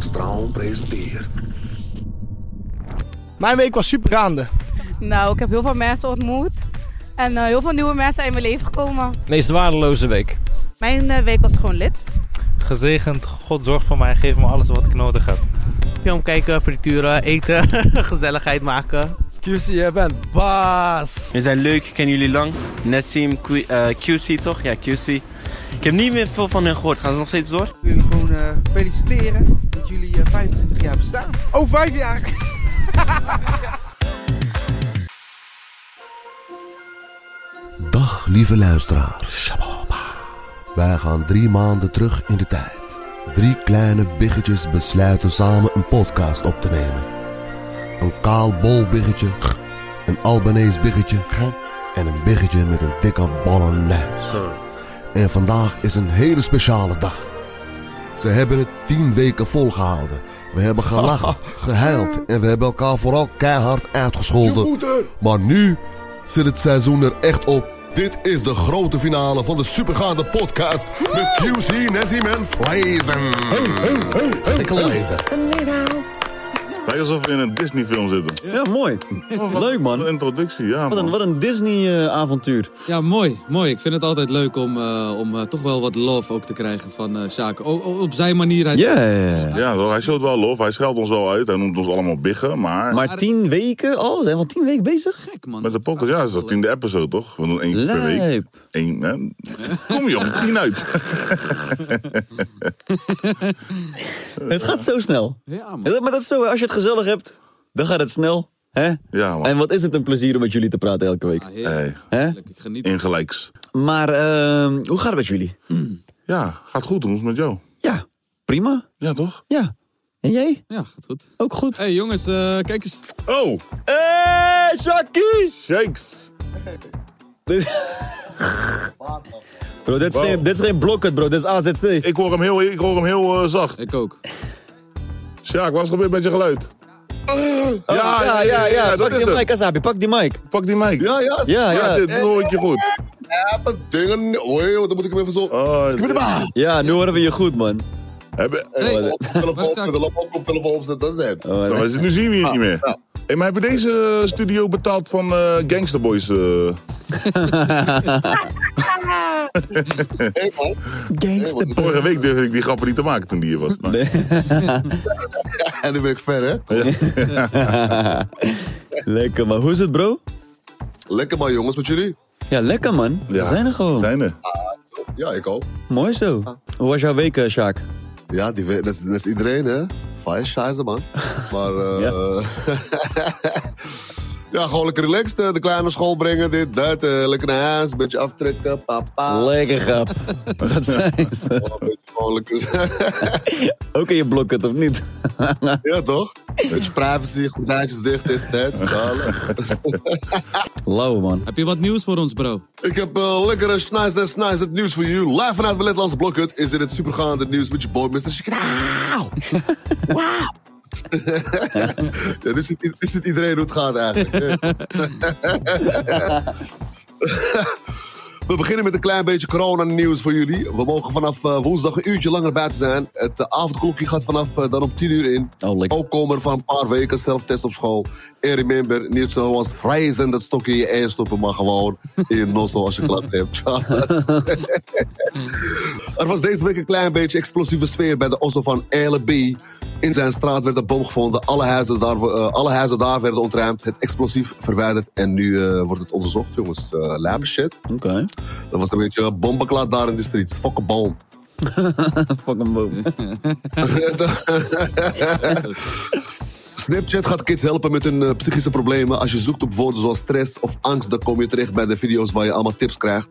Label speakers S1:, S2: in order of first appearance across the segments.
S1: Straal presenteert.
S2: Mijn week was super gaande.
S3: Nou, ik heb heel veel mensen ontmoet. En eh, heel veel nieuwe mensen in mijn leven gekomen.
S4: Meest waardeloze week.
S5: Mijn eh, week was gewoon lid.
S6: Gezegend, God zorgt voor mij en geeft me alles wat ik nodig heb.
S7: Film kijken, frituren, eten, gezelligheid maken.
S2: QC, jij bent baas.
S8: We zijn leuk, kennen jullie lang. Nassim, Q, eh, QC toch? Ja, QC. Ik heb niet meer veel van hen gehoord. Gaan ze nog steeds door?
S9: Ik wil jullie gewoon eh, feliciteren dat jullie eh, 25 jaar bestaan. Oh, 5 jaar!
S1: Dag lieve luisteraars. Wij gaan drie maanden terug in de tijd. Drie kleine biggetjes besluiten samen een podcast op te nemen. Een kaal bol biggetje, een Albanees biggetje en een biggetje met een dikke ballen neus. En vandaag is een hele speciale dag. Ze hebben het tien weken volgehouden. We hebben gelachen, gehuild en we hebben elkaar vooral keihard uitgescholden. Maar nu zit het seizoen er echt op. Dit is de grote finale van de supergaande podcast met QC, Nessim en Flazen. Gekke Flazen.
S10: Lijkt alsof we in een Disney-film zitten. Oh,
S11: Ja, mooi. Leuk
S10: Wat
S11: man.
S10: een introductie, ja.
S11: Wat een,
S10: man.
S11: wat een Disney-avontuur. ja, mooi. Mooi. Ik vind het altijd leuk om, eh, om eh, toch wel wat love ook te krijgen van eh Sjaak. O- o- op zijn manier. Hij...
S10: Ja,
S11: ja,
S10: Ja, wel, hij schreeuwt wel lof, hij scheldt ons wel uit, hij noemt ons allemaal biggen, maar...
S11: Maar- Maar tien tien
S7: weken? Oh, we zijn al tien weken bezig?
S11: Gek man.
S10: Met de podcast, ja, dat is de tiende episode, toch? We doen één per week.
S11: Lijp.
S10: Eén, hè? Kom joh, tien uit.
S11: Het gaat zo snel.
S10: Ja,
S11: Ja, dat- maar dat is zo. Als je het gezellig hebt, dan gaat het snel. Hè?
S10: Ja, man.
S11: En wat is het een plezier om met jullie te praten elke week.
S10: Hey,
S11: Hè? Ik geniet.
S10: ingelijks.
S11: Maar ehm, hoe gaat het met jullie?
S10: Ja, gaat goed, hoe is het met jou?
S11: Ja, prima.
S10: Ja, toch?
S11: Ja. En jij?
S5: Ja, gaat goed.
S11: Ook goed.
S5: hey, jongens, eh, kijk eens.
S10: Oh,
S11: Hé, Sjaakie!
S10: shakes.
S11: Bro, dit is,
S10: Wow.
S11: geen, dit is geen blokket, bro. Dit is AZC.
S10: Ik hoor hem heel, ik hoor hem heel eh, zacht.
S11: Ik ook.
S10: Sjaak, wat is er gebeurd met je geluid?
S11: Oh. Ja, ja, ja.
S10: dat
S11: Pak
S10: is
S11: die
S10: het.
S11: mic, Asabi. Pak die mic.
S10: Pak die mic.
S1: Ja, ja.
S11: Ja, ja.
S10: dit hoor ik je goed.
S1: Dingen. Oei, wat moet ik hem even zo.
S10: Oh,
S1: Skibidaba!
S11: Ja, nu horen we je goed, man.
S10: hebben,
S1: Hey,
S11: Hey.
S1: op telefoon opzetten, lap op, op telefoon opzetten, dat is het.
S11: Oh,
S10: Nou, is- nu zien we je niet
S11: Ah,
S10: meer.
S1: ja.
S10: Hey, maar heb je deze eh, studio betaald van eh Gangster Boys? eh?
S1: Hey, man.
S11: Gangster.
S10: Vorige week durfde ik die grappen niet te maken toen die hier was. Maar...
S11: Nee.
S1: En nu ben ik ver, hè?
S11: Lekker, man. Hoe is het, bro?
S1: Lekker maar, jongens, met jullie.
S11: Ja, lekker, man. We
S10: Ja.
S11: zijn er gewoon.
S10: Zijn er?
S1: Ja, ik ook.
S11: Mooi zo. Hoe was jouw week, eh, Sjaak?
S1: Ja, die weet, net, als- net als iedereen, hè. Fijn, scheiße, man. Maar, eh... ja. gewoon lekker relaxed. hè. De kleine school brengen, dit, dat. eh, lekker naar huis, een beetje aftrekken, papa.
S11: Lekker grap. Dat zijn ze.
S1: Gewoon een beetje gewoon lekker...
S11: Ook in je blokket, of niet?
S1: ja, toch? Beetje privacy, gordijntjes dicht, dit, dat. dat.
S11: Lauw, man.
S5: Heb je wat nieuws voor ons, bro?
S1: Ik heb eh, lekkere snijs en snijs het nieuws voor jullie. Live vanuit mijn Nederlandse blokhut is dit het supergaande nieuws met je boy Mr. Chicago. Wauw! ja, nu ziet, nu ziet iedereen hoe het gaat eigenlijk. We beginnen met een klein beetje corona-nieuws voor jullie. We mogen vanaf eh, woensdag een uurtje langer buiten zijn. Het eh, avondklokje gaat vanaf eh, dan om 10 uur in.
S11: Oh, lekker.
S1: Ook komen er van een paar weken zelftest op school. En remember, niet zoals reizen dat stokje in je ei stoppen, maar gewoon in je nozzle als je glad hebt. Charles. er was deze week een klein beetje explosieve sfeer bij de Oslo van LB. In zijn straat werd een bom gevonden. Alle huizen daar, eh, alle huizen daar werden ontruimd. Het explosief verwijderd. En nu eh, wordt het onderzocht, jongens. Eh lijpe shit.
S11: Oké.
S1: Dat was een beetje een bombeklaat daar in de street. Fuck een boom.
S11: Fucking boom.
S1: Oh. Snapchat gaat kids helpen met hun eh, psychische problemen. Als je zoekt op woorden zoals stress of angst, dan kom je terecht bij de video's waar je allemaal tips krijgt.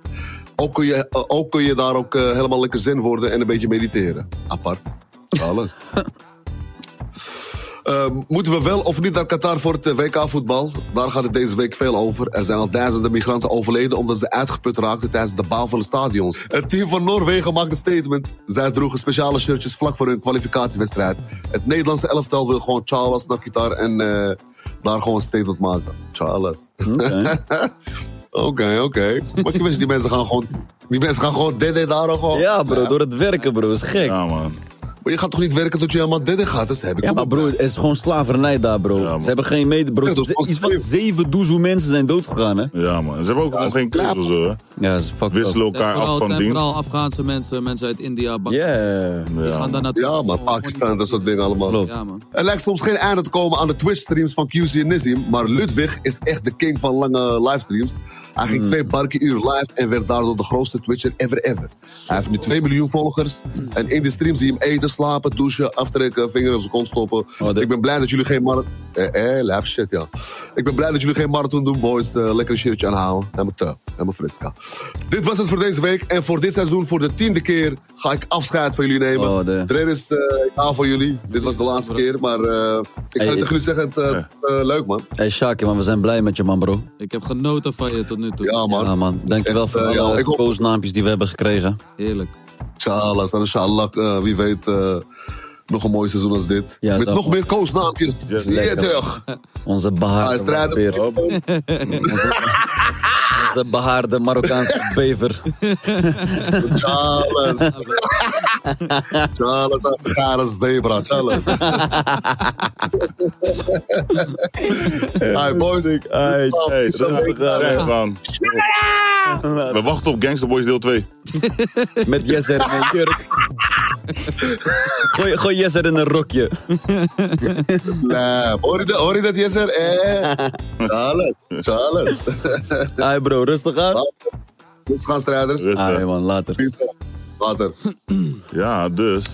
S1: Ook kun je, eh, ook kun je daar ook eh, helemaal lekker zin worden en een beetje mediteren. Apart. Alles. Eh, moeten we wel of niet naar Qatar voor het eh, WK-voetbal? Daar gaat het deze week veel over. Er zijn al duizenden migranten overleden omdat ze uitgeput raakten tijdens de bouw van de stadions. Het team van Noorwegen maakt een statement. Zij droegen speciale shirtjes vlak voor hun kwalificatiewedstrijd. Het Nederlandse elftal wil gewoon Charles naar Qatar en eh, daar gewoon een statement maken. Charles.
S11: Oké.
S1: Oké, oké. Maar je wist, die mensen gaan gewoon... Die mensen gaan gewoon DD daar gewoon...
S11: Ja, bro. Door het werken, bro. is gek.
S10: Ja, man.
S1: Maar je gaat toch niet werken tot je helemaal derde gaat? Dat heb ik
S11: Ja,
S1: ook
S11: maar
S1: al.
S11: broer, het is gewoon slavernij daar, bro. ze hebben geen mede, bro.
S1: Ja, dat
S11: Ze- Iets van zeven doezoe mensen zijn doodgegaan, hè?
S10: Ja, man. Ze hebben ook nog geen kleur zo,
S11: hè? Ja, ze
S10: Wisselen elkaar
S5: vooral,
S10: af
S5: het
S10: van
S5: zijn
S10: dienst.
S5: vooral Afghaanse mensen, mensen uit India,
S1: Ja,
S5: gaan daar
S1: man. ja, maar Pakistan, dat soort dingen allemaal. Er lijkt soms geen einde te komen aan de Twitch-streams van QC en Nizim, maar Ludwig is echt de king van lange livestreams. Hij
S11: Hmm.
S1: ging twee barke uur live en werd daardoor de grootste Twitcher ever ever. Hij heeft nu 2 miljoen volgers en in de stream zie je hem eten, slapen, douchen, aftrekken, vinger in zijn kont stoppen.
S11: Oh,
S1: Ik ben blij dat jullie geen marathon... Eh, eh, lap shit, ja. Ik ben blij dat jullie geen marathon doen, boys. Eh, lekker een shirtje aanhouden. Helemaal te, helemaal frisca. Dit was het voor deze week en voor dit seizoen, voor de tiende keer, ga ik afscheid van jullie nemen.
S11: Oh, de-
S1: Er is eh ja voor jullie. Dit was de laatste keer, maar eh, ik ga
S11: Hey,
S1: het tegen jullie zeggen, het eh, het is, eh, leuk man.
S11: Hé, hey, Shaki, man, we zijn blij met je, man, bro.
S5: Ik heb genoten van je tot nu toe.
S1: Ja man.
S11: Ja, man. Dankjewel voor
S1: eh, ja,
S11: alle
S1: ik hoop-
S11: koosnaampjes die we hebben gekregen.
S5: Heerlijk.
S1: Inshallah, en inshallah, eh, wie weet, eh, nog een mooi seizoen als dit.
S11: Ja,
S1: Met
S11: dat
S1: nog
S11: man.
S1: meer koosnaampjes.
S11: lekker.
S1: Jeetje.
S11: Onze
S1: Ah,
S11: behaarde
S1: strijders.
S11: beer. Onze behaarde Marokkaanse bever.
S1: Charles. Charles Afghanis Zebra. Charles. Hi boys.
S11: Hey,
S10: rustig aan, hè. man. We wachten op Gangster Boys deel 2.
S11: Met Jesser en een jurk. Gooi, gooi Jesser in een rokje.
S1: Nah, hoor je dat- hoor je dat, Jesser? Eh. Charles. Charles.
S11: Hey bro, rustig aan.
S1: Rustig aan, strijders.
S11: Hey man, later.
S1: Later.
S10: Ja, dus.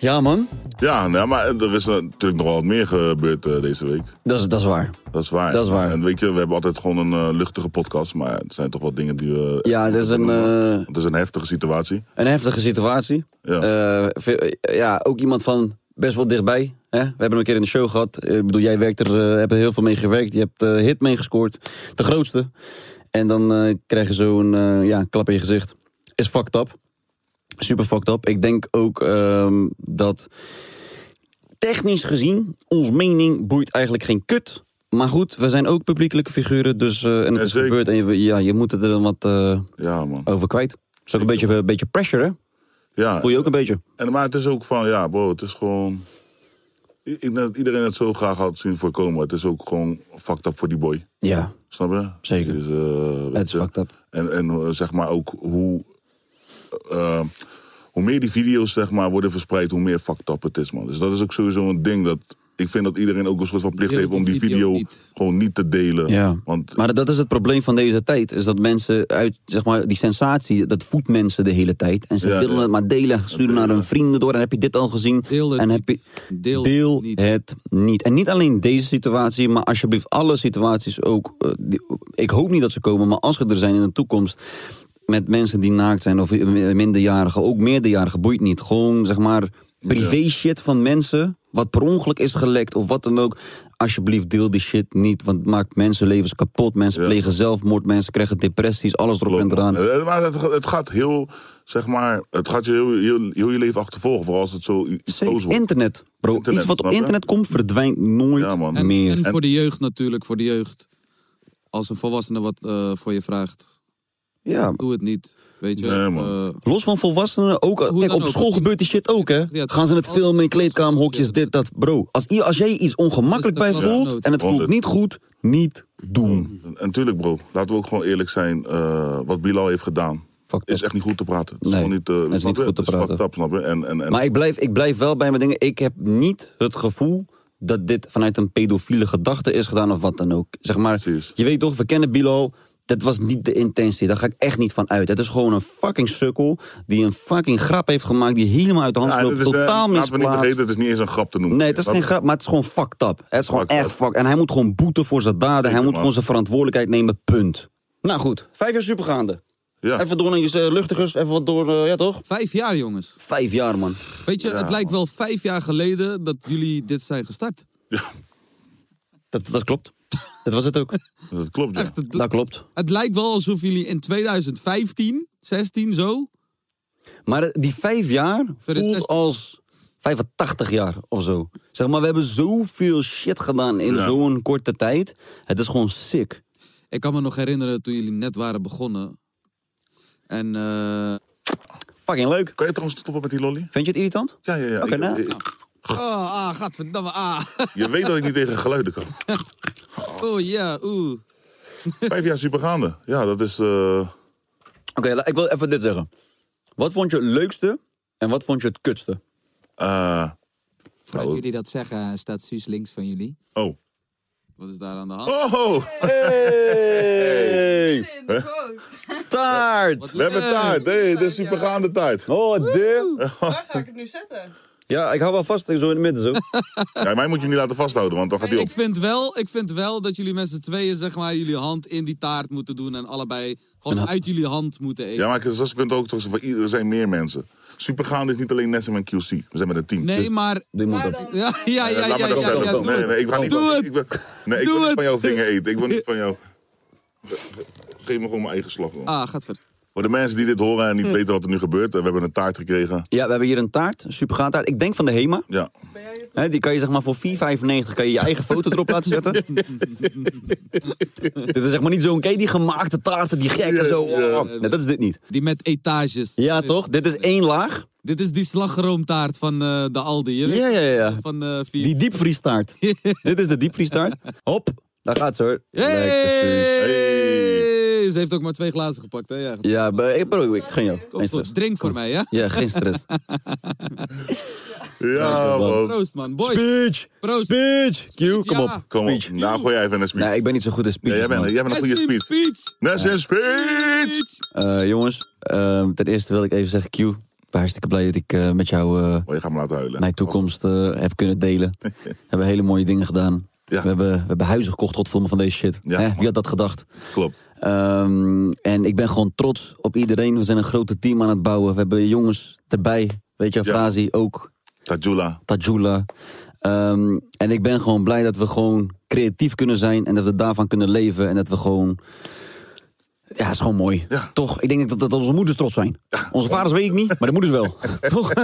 S11: Ja, man.
S10: Ja, nou, maar er is natuurlijk nog wel wat meer gebeurd eh, deze week.
S11: Dat is, dat is waar.
S10: Dat is waar.
S11: Dat is waar.
S10: En weet je, we hebben altijd gewoon een eh, luchtige podcast, maar het zijn toch wel dingen die we...
S11: Ja, het is een, eh,
S10: Het is een heftige situatie.
S11: een heftige situatie.
S10: Ja.
S11: Eh, veel- eh, ja, ook iemand van best wel dichtbij. Hè? We hebben hem een keer in de show gehad. Eh, Ik bedoel, jij werkt er, eh, hebt er heel veel mee gewerkt. Je hebt eh, hit mee gescoord. De grootste. En dan eh, krijg je zo'n eh, ja, klap in je gezicht. Is fucked up. Super fucked up. Ik denk ook ehm, dat technisch gezien, ons mening boeit eigenlijk geen kut. Maar goed, we zijn ook publiekelijke figuren. Dus, eh, en het is gebeurd. En je, ja, je moet het er dan wat eh, over kwijt. Het is ook een beetje, een beetje pressure, hè?
S10: Ja.
S11: Voel je ook een beetje.
S10: En, maar het is ook van, ja, bro, het is gewoon... I- Ik denk dat iedereen het zo graag had zien voorkomen. Het is ook gewoon fucked up voor die boy.
S11: Ja.
S10: Snap je? Zeker. Dus, het is fucked
S11: up.
S10: En, en eh, zeg maar ook hoe... eh, hoe meer die video's zeg maar, worden verspreid, hoe meer fucked up het is, man. Dus dat is ook sowieso een ding dat... Ik vind dat iedereen ook een soort van plicht heeft om die video gewoon niet te delen.
S11: Ja.
S10: Want
S11: Maar dat is het probleem van deze tijd. Is dat mensen uit, zeg maar, die sensatie, dat voedt mensen de hele tijd. En ze
S10: Ja,
S11: willen
S10: ja.
S11: het maar delen. Sturen naar hun vrienden door. En heb je dit al gezien? Deel het en heb je, Deel, het niet. En niet alleen deze situatie, maar alsjeblieft alle situaties ook. eh, die- ik hoop niet dat ze komen, maar als ze er zijn in de toekomst. Met mensen die naakt zijn of minderjarigen, ook meerderjarigen, boeit niet. Gewoon zeg maar privé shit van mensen. Wat per ongeluk is gelekt of wat dan ook. Alsjeblieft, deel die shit niet. Want het maakt mensenlevens kapot. Mensen plegen zelfmoord. Mensen krijgen depressies. Alles erop en eraan.
S10: Eh, Maar het, het gaat heel, zeg maar, het gaat je heel, heel, heel je leven achtervolgen. Vooral als het zo i- iets groots wordt.
S11: Internet, bro. Iets wat op
S10: snap je?
S11: internet komt, verdwijnt nooit meer.
S5: En voor de jeugd natuurlijk, voor de jeugd. Als een volwassene wat eh, voor je vraagt,
S11: Ja.
S5: doe het niet. Weet je? eh,
S11: Los van volwassenen, ook, kijk,
S5: dan
S11: op
S5: ook.
S11: school gebeurt die shit ook, hè?
S5: het-
S11: Gaan ze het filmen in kleedkamer, hokjes, dit, dat. Bro, als, i- als jij je iets
S5: Dus
S11: ongemakkelijk bij voelt en het voelt niet goed, niet doen.
S10: En natuurlijk, bro, laten we ook gewoon eerlijk zijn. eh, wat Bilal heeft gedaan, is echt niet goed te praten. Het is gewoon niet, eh,
S11: is
S10: snap
S11: niet
S10: je?
S11: goed te
S10: Het is fucked
S11: praten.
S10: up, snap je? En, en, en,
S11: Maar ik blijf, ik blijf wel bij mijn dingen. Ik heb niet het gevoel dat dit vanuit een pedofiele gedachte is gedaan of wat dan ook. Zeg maar, je weet toch, we kennen Bilal. Dat was niet de intentie. Daar ga ik echt niet van uit. Het is gewoon een fucking sukkel die een fucking grap heeft gemaakt die helemaal uit de hand
S10: Ja,
S11: loopt.
S10: het is, eh,
S11: totaal
S10: laten we niet
S11: misplaatst.
S10: vergeten, het is niet eens een grap te noemen.
S11: Nee, het is
S10: Snap
S11: geen
S10: je?
S11: grap, maar het is gewoon fucked up. Het is gewoon echt fucked. En hij moet gewoon boeten voor zijn daden. Hij moet gewoon zijn verantwoordelijkheid nemen, punt. Nou goed, vijf jaar supergaande.
S10: Ja.
S11: Even door naar je eh, luchtigers, even wat door, eh, ja toch?
S5: Vijf jaar, jongens.
S11: Vijf jaar, man.
S5: Weet je,
S11: Ja,
S5: het lijkt wel vijf jaar geleden dat jullie dit zijn gestart.
S11: Dat, dat klopt. Dat was het ook.
S10: Dat klopt,
S5: Echt, het,
S11: Dat klopt.
S5: het lijkt wel alsof jullie in 2015, 16 zo...
S11: Maar eh, die vijf jaar voelt als 85 jaar of zo. Zeg maar, we hebben zoveel shit gedaan in zo'n korte tijd. Het is gewoon sick.
S5: Ik kan me nog herinneren toen jullie net waren begonnen. En eh,
S11: Fucking leuk.
S10: Kan je trouwens stoppen met die lolly?
S11: Vind je het irritant?
S10: Ja, ja, ja.
S11: Oké,
S10: Ik-
S11: nou.
S10: ik-
S5: Oh, ah, gadverdamme, ah.
S10: Je weet dat ik niet tegen geluiden kan.
S5: Oh ja, oeh.
S10: Vijf jaar supergaande. Ja, dat is... eh,
S11: Oké, la- ik wil even dit zeggen. Wat vond je het leukste en wat vond je het kutste?
S10: Eh
S12: Voordat jullie dat zeggen, staat Suus links van jullie.
S10: Oh.
S5: Wat is daar aan de hand?
S10: Oh!
S11: Hey!
S10: Huh?
S11: Taart!
S10: We hebben taart. Hey, dit is supergaande taart.
S11: Oh, dit.
S10: Waar
S13: ga ik het nu zetten?
S11: Ja, ik hou wel vast. Zo in het midden zo.
S10: ja, mij moet je hem niet laten vasthouden, want dan gaat hij op.
S5: Ik vind, wel, ik vind wel dat jullie met z'n tweeën zeg maar, jullie hand in die taart moeten doen. En allebei gewoon uit jullie hand moeten eten.
S10: Ja, maar zoals je kunt ook toch zeggen, van ieder- er zijn meer mensen. Supergaande is niet alleen Nessim en QC. We zijn met een team. Dus,
S5: Nee, maar... Ja, ja, ja, ja,
S10: Eh, Laat maar
S5: ja,
S10: dat
S5: ja,
S10: zijn.
S5: ja, doe
S10: nee, nee, ik wil
S5: het.
S10: niet,
S5: Doe het.
S10: ik wil, nee, ik wil niet van jouw vinger eten. Ik wil niet van jou. Geef me gewoon mijn eigen slag.
S5: Ah, Hm. gaat verder.
S10: Voor de mensen die dit horen en niet weten wat er nu gebeurt, eh, we hebben een taart gekregen.
S11: Ja, we hebben hier een taart, een supergaan taart. Ik denk van de HEMA.
S10: Ja.
S11: Hè, die kan je zeg maar voor 4,95 kan je, je eigen foto erop laten zetten. dit is zeg maar niet zo'n, kijk die gemaakte taarten, die gekke zo. Oh, Nee, dat is dit niet.
S5: Die met etages.
S11: Ja, toch? Dit is één laag.
S5: Dit is die slagroomtaart van eh, de Aldi. Je weet?
S11: Ja, ja, ja.
S5: Van, eh, vier-
S11: Die diepvriestaart. dit is de diepvriestaart. Hop, daar gaat ze hoor. Lekker, zus.
S5: Hey! Ze heeft ook maar twee glazen gepakt. Hè? Ja,
S11: Ja, maar ik, bro, ik geen jou. Geen stress.
S5: goed. Drink voor mij, hè?
S11: Ja, geen stress.
S10: Ja, man.
S5: Proost, man. Boys.
S11: Speech!
S5: Proost.
S11: Speech! Q, kom
S5: Ja.
S11: op.
S10: Kom op. Nou, gooi jij even een speech.
S11: Nee, ik ben niet zo goed in
S10: Ja,
S11: speeches.
S10: jij bent,
S11: man.
S10: jij bent een goede
S5: Nessim,
S10: speech. Nessim, speech!
S11: Eh, jongens, ehm, ten eerste wil ik even zeggen, Q, ik ben hartstikke blij dat ik eh, met jou eh,
S10: Oh, je gaat me laten huilen.
S11: mijn toekomst eh, heb kunnen delen. we hebben hele mooie dingen gedaan.
S10: Ja.
S11: We, hebben, we hebben huizen gekocht, godverdomme, van deze shit.
S10: Ja.
S11: Hè, wie had dat gedacht?
S10: Klopt.
S11: Ehm, en ik ben gewoon trots op iedereen. We zijn een grote team aan het bouwen. We hebben jongens erbij. Weet je, Frazi ook.
S10: Tajula.
S11: Tajula. Ehm, en ik ben gewoon blij dat we gewoon creatief kunnen zijn. En dat we daarvan kunnen leven. En dat we gewoon... Ja, is gewoon mooi. Toch? Ik denk dat, dat onze moeders trots zijn. Onze vaders weet ik niet, maar de moeders wel. Toch?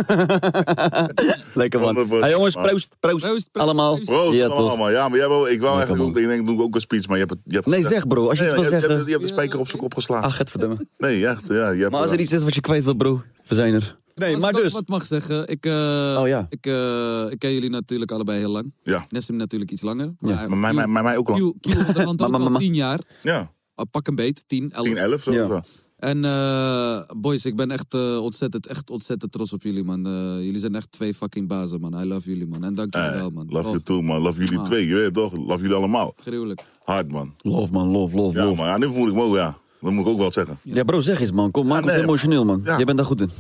S11: Lekker man. Hey, jongens, proost, proost. Allemaal.
S10: Proost,
S11: ja,
S10: allemaal,
S11: toch.
S10: allemaal. Ja, maar jij wil, ik wou eigenlijk ook, ik denk, doe ik ook een speech, maar je hebt het... Je hebt
S11: Nee,
S10: ja.
S11: zeg, bro, als je
S10: Nee,
S11: iets wil
S10: hebt-
S11: zeggen.
S10: Je hebt, je hebt de spijker op zijn kop geslagen.
S11: Ach, het verdomme.
S10: Nee, echt, ja. Je hebt,
S11: Maar als er iets is wat je kwijt wil, bro, we zijn er.
S5: Nee, maar dus. wat mag zeggen. Ik, eh, ik, eh, ik ken jullie natuurlijk allebei heel lang.
S10: Ja.
S5: Nessim natuurlijk iets langer.
S10: Maar mij- mij- mij- mij ook lang.
S5: Q, Q onderhand ook al tien jaar.
S10: Ja.
S5: Ah, pak een beet, tien, elf.
S10: 10, 11, zo. Ja.
S5: En eh, boys, ik ben echt, eh, ontzettend, echt ontzettend trots op jullie, man. Eh, jullie zijn echt twee fucking bazen, man. I love jullie, man. En dank jullie wel, man.
S10: Love
S5: Oh,
S10: you too, man. Love jullie
S5: Ah.
S10: twee, je weet toch? Love jullie allemaal.
S5: Gruwelijk.
S10: Hard, man.
S11: Love, man, love, love,
S10: Ja,
S11: love.
S10: man. Ja, nu voel ik me ook, ja. Dat moet ik ook wel zeggen.
S11: Ja, bro, zeg eens, man. Kom, maak
S10: nee.
S11: ons emotioneel, man.
S10: Ja.
S11: Jij bent daar goed in.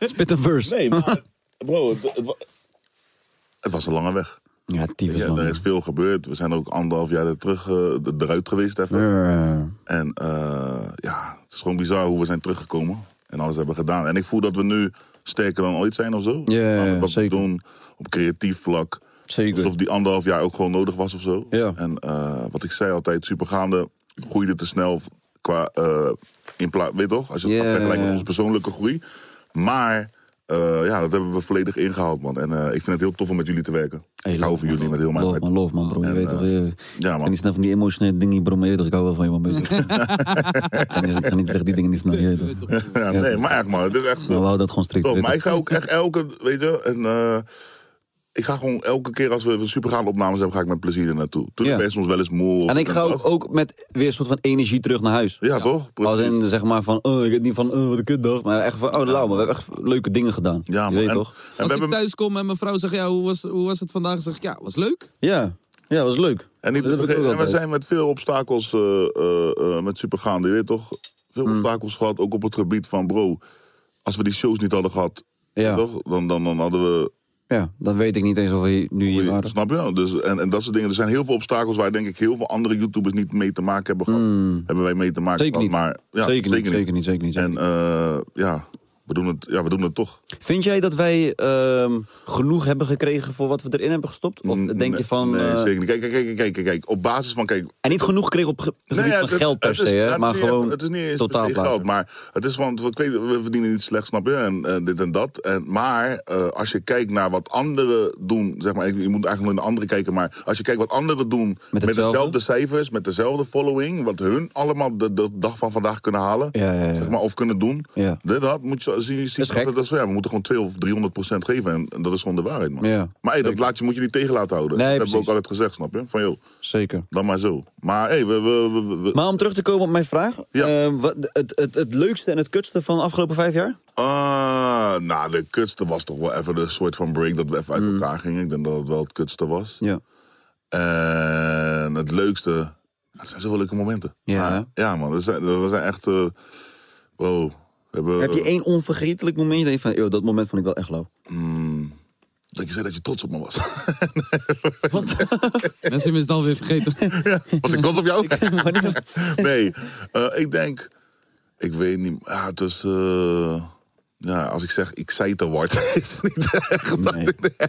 S11: Spit een verse.
S10: Nee, maar bro, het, het, wa- het was een lange weg.
S11: Ja, tyfus,
S10: ja,
S11: man.
S10: Er is veel gebeurd. We zijn ook anderhalf jaar er terug, eh, d- eruit geweest even. En eh, ja, het is gewoon bizar hoe we zijn teruggekomen. En alles hebben gedaan. En ik voel dat we nu sterker dan ooit zijn of zo.
S11: Ja, ja,
S10: Met
S11: ja,
S10: wat we doen op creatief vlak.
S11: Zeker.
S10: Alsof die anderhalf jaar ook gewoon nodig was of zo. En eh, wat ik zei altijd, supergaande groeide te snel qua... eh, in pla- weet je toch? Als je het
S11: Ja,
S10: vergelijkt
S11: ja,
S10: met
S11: ja.
S10: onze persoonlijke groei. Maar eh, ja, dat hebben we volledig ingehaald, man. En eh, ik vind het heel tof om met jullie te werken. ik hou van jullie met heel mijn
S11: Love,
S10: hart.
S11: man, love, man, bro. Je weet toch,
S10: eh,
S11: je-
S10: ja,
S11: ik
S10: man.
S11: ben niet snel van die emotionele dingen, bro. Maar je weet toch, ik hou wel van je, man. weet je toch. Dus ik ga niet zeggen die dingen niet snel. Je weet toch.
S10: Ja, nee, maar echt, man. Het is echt...
S11: Maar Nou, we houden dat gewoon strikt.
S10: Toch,
S11: weet
S10: Oh, maar
S11: je
S10: ik ga ook echt elke, weet je, en, eh, ik ga gewoon elke keer als we een supergaande opnames hebben, ga ik met plezier er naartoe. Toen ben je soms wel eens moe.
S11: toch.
S10: of-
S11: En ik ga ook, ook met weer een soort van energie terug naar huis.
S10: Ja, toch?
S11: Als in, zeg maar, van, oh, ik heb niet van, oh, wat een kutdag. Maar echt van, oh, lauw, maar we hebben echt leuke dingen gedaan. Ja, Je weet toch?
S5: Als ik thuis kom en mijn vrouw zegt, ja, hoe was, hoe was het vandaag? Zeg ik, ja, was leuk.
S11: Ja, ja, was leuk.
S10: En, niet te
S11: Dat heb
S10: vergeten-
S11: ik ook
S10: en we
S11: altijd.
S10: zijn met veel obstakels eh, eh, eh, met supergaande, je weet toch? Veel
S11: Hmm.
S10: obstakels gehad, ook op het gebied van, bro, als we die shows niet hadden gehad, weet je toch? Dan, dan, dan hadden we...
S11: Ja, dan weet ik niet eens of we nu hier waren.
S10: Snap je? Dus, en, en dat soort dingen. Er zijn heel veel obstakels waar denk ik heel veel andere YouTubers niet mee te maken hebben gehad. Hebben wij mee te maken
S11: Hmm. Zeker
S10: gehad,
S11: niet.
S10: Maar, ja,
S11: Zeker niet, zeker niet, zeker niet.
S10: En eh, ja, we doen het, ja, we doen het toch.
S11: Vind jij dat wij ehm, genoeg hebben gekregen voor wat we erin hebben gestopt? Of denk je van...
S10: Nee,
S11: eh,
S10: zeker niet. Kijk, kijk, kijk, kijk, kijk, kijk. Op basis van, kijk...
S11: En niet genoeg gekregen op ge- gebied
S10: Nou ja,
S11: van geld per
S10: het is-
S11: se, hè,
S10: ja, het
S11: maar
S10: is niet-
S11: gewoon
S10: Het is niet eens
S11: totaal
S10: per se geld,
S11: plaatsen.
S10: maar het is van, ik weet, we verdienen niet slecht, snap je? En eh, dit en dat. En, maar eh, als je kijkt naar wat anderen doen, zeg maar, ik- je moet eigenlijk naar de anderen kijken, maar als je kijkt wat anderen doen met,
S11: hetzelfde?
S10: dezelfde cijfers, met dezelfde following, wat hun allemaal de, de dag van vandaag kunnen halen, Zeg maar, of kunnen doen,
S11: Ja.
S10: dit, dat, moet je zien, zien dat, dat, is van, ja, we moeten gewoon 2 of 300 procent geven en, en dat is gewoon de waarheid, man.
S11: Ja,
S10: maar hey, dat laat je, moet je niet tegen laten houden.
S11: Nee,
S10: dat hebben we ook
S11: precies.
S10: altijd gezegd, snap je? Van joh,
S11: Zeker.
S10: dan maar zo. Maar hey, we- we- we, we, we,
S11: Maar om terug te komen op mijn vraag. eh, wat, het, het, het leukste en het kutste van de afgelopen vijf jaar?
S10: Ah, nou, de kutste was toch wel even een soort van break dat we even uit
S11: Mm.
S10: elkaar gingen. Ik denk dat het wel het kutste was.
S11: Ja.
S10: En het leukste. ja, Het zijn zoveel leuke momenten.
S11: Ja,
S10: Maar, ja man. Dat zijn, dat zijn echt. eh, wow. We hebben, eh,
S11: Heb je e- één onvergetelijk moment? Dat je van, yo, dat moment vond ik wel echt lauw.
S10: Dat je zei dat je trots op me was.
S5: Mensen hebben het alweer vergeten.
S10: Was ik trots op jou? nee, eh, ik denk. Ik weet niet. Ja, het is. eh, ja, als ik zeg, ik zei te hard, is het niet echt. dat ik-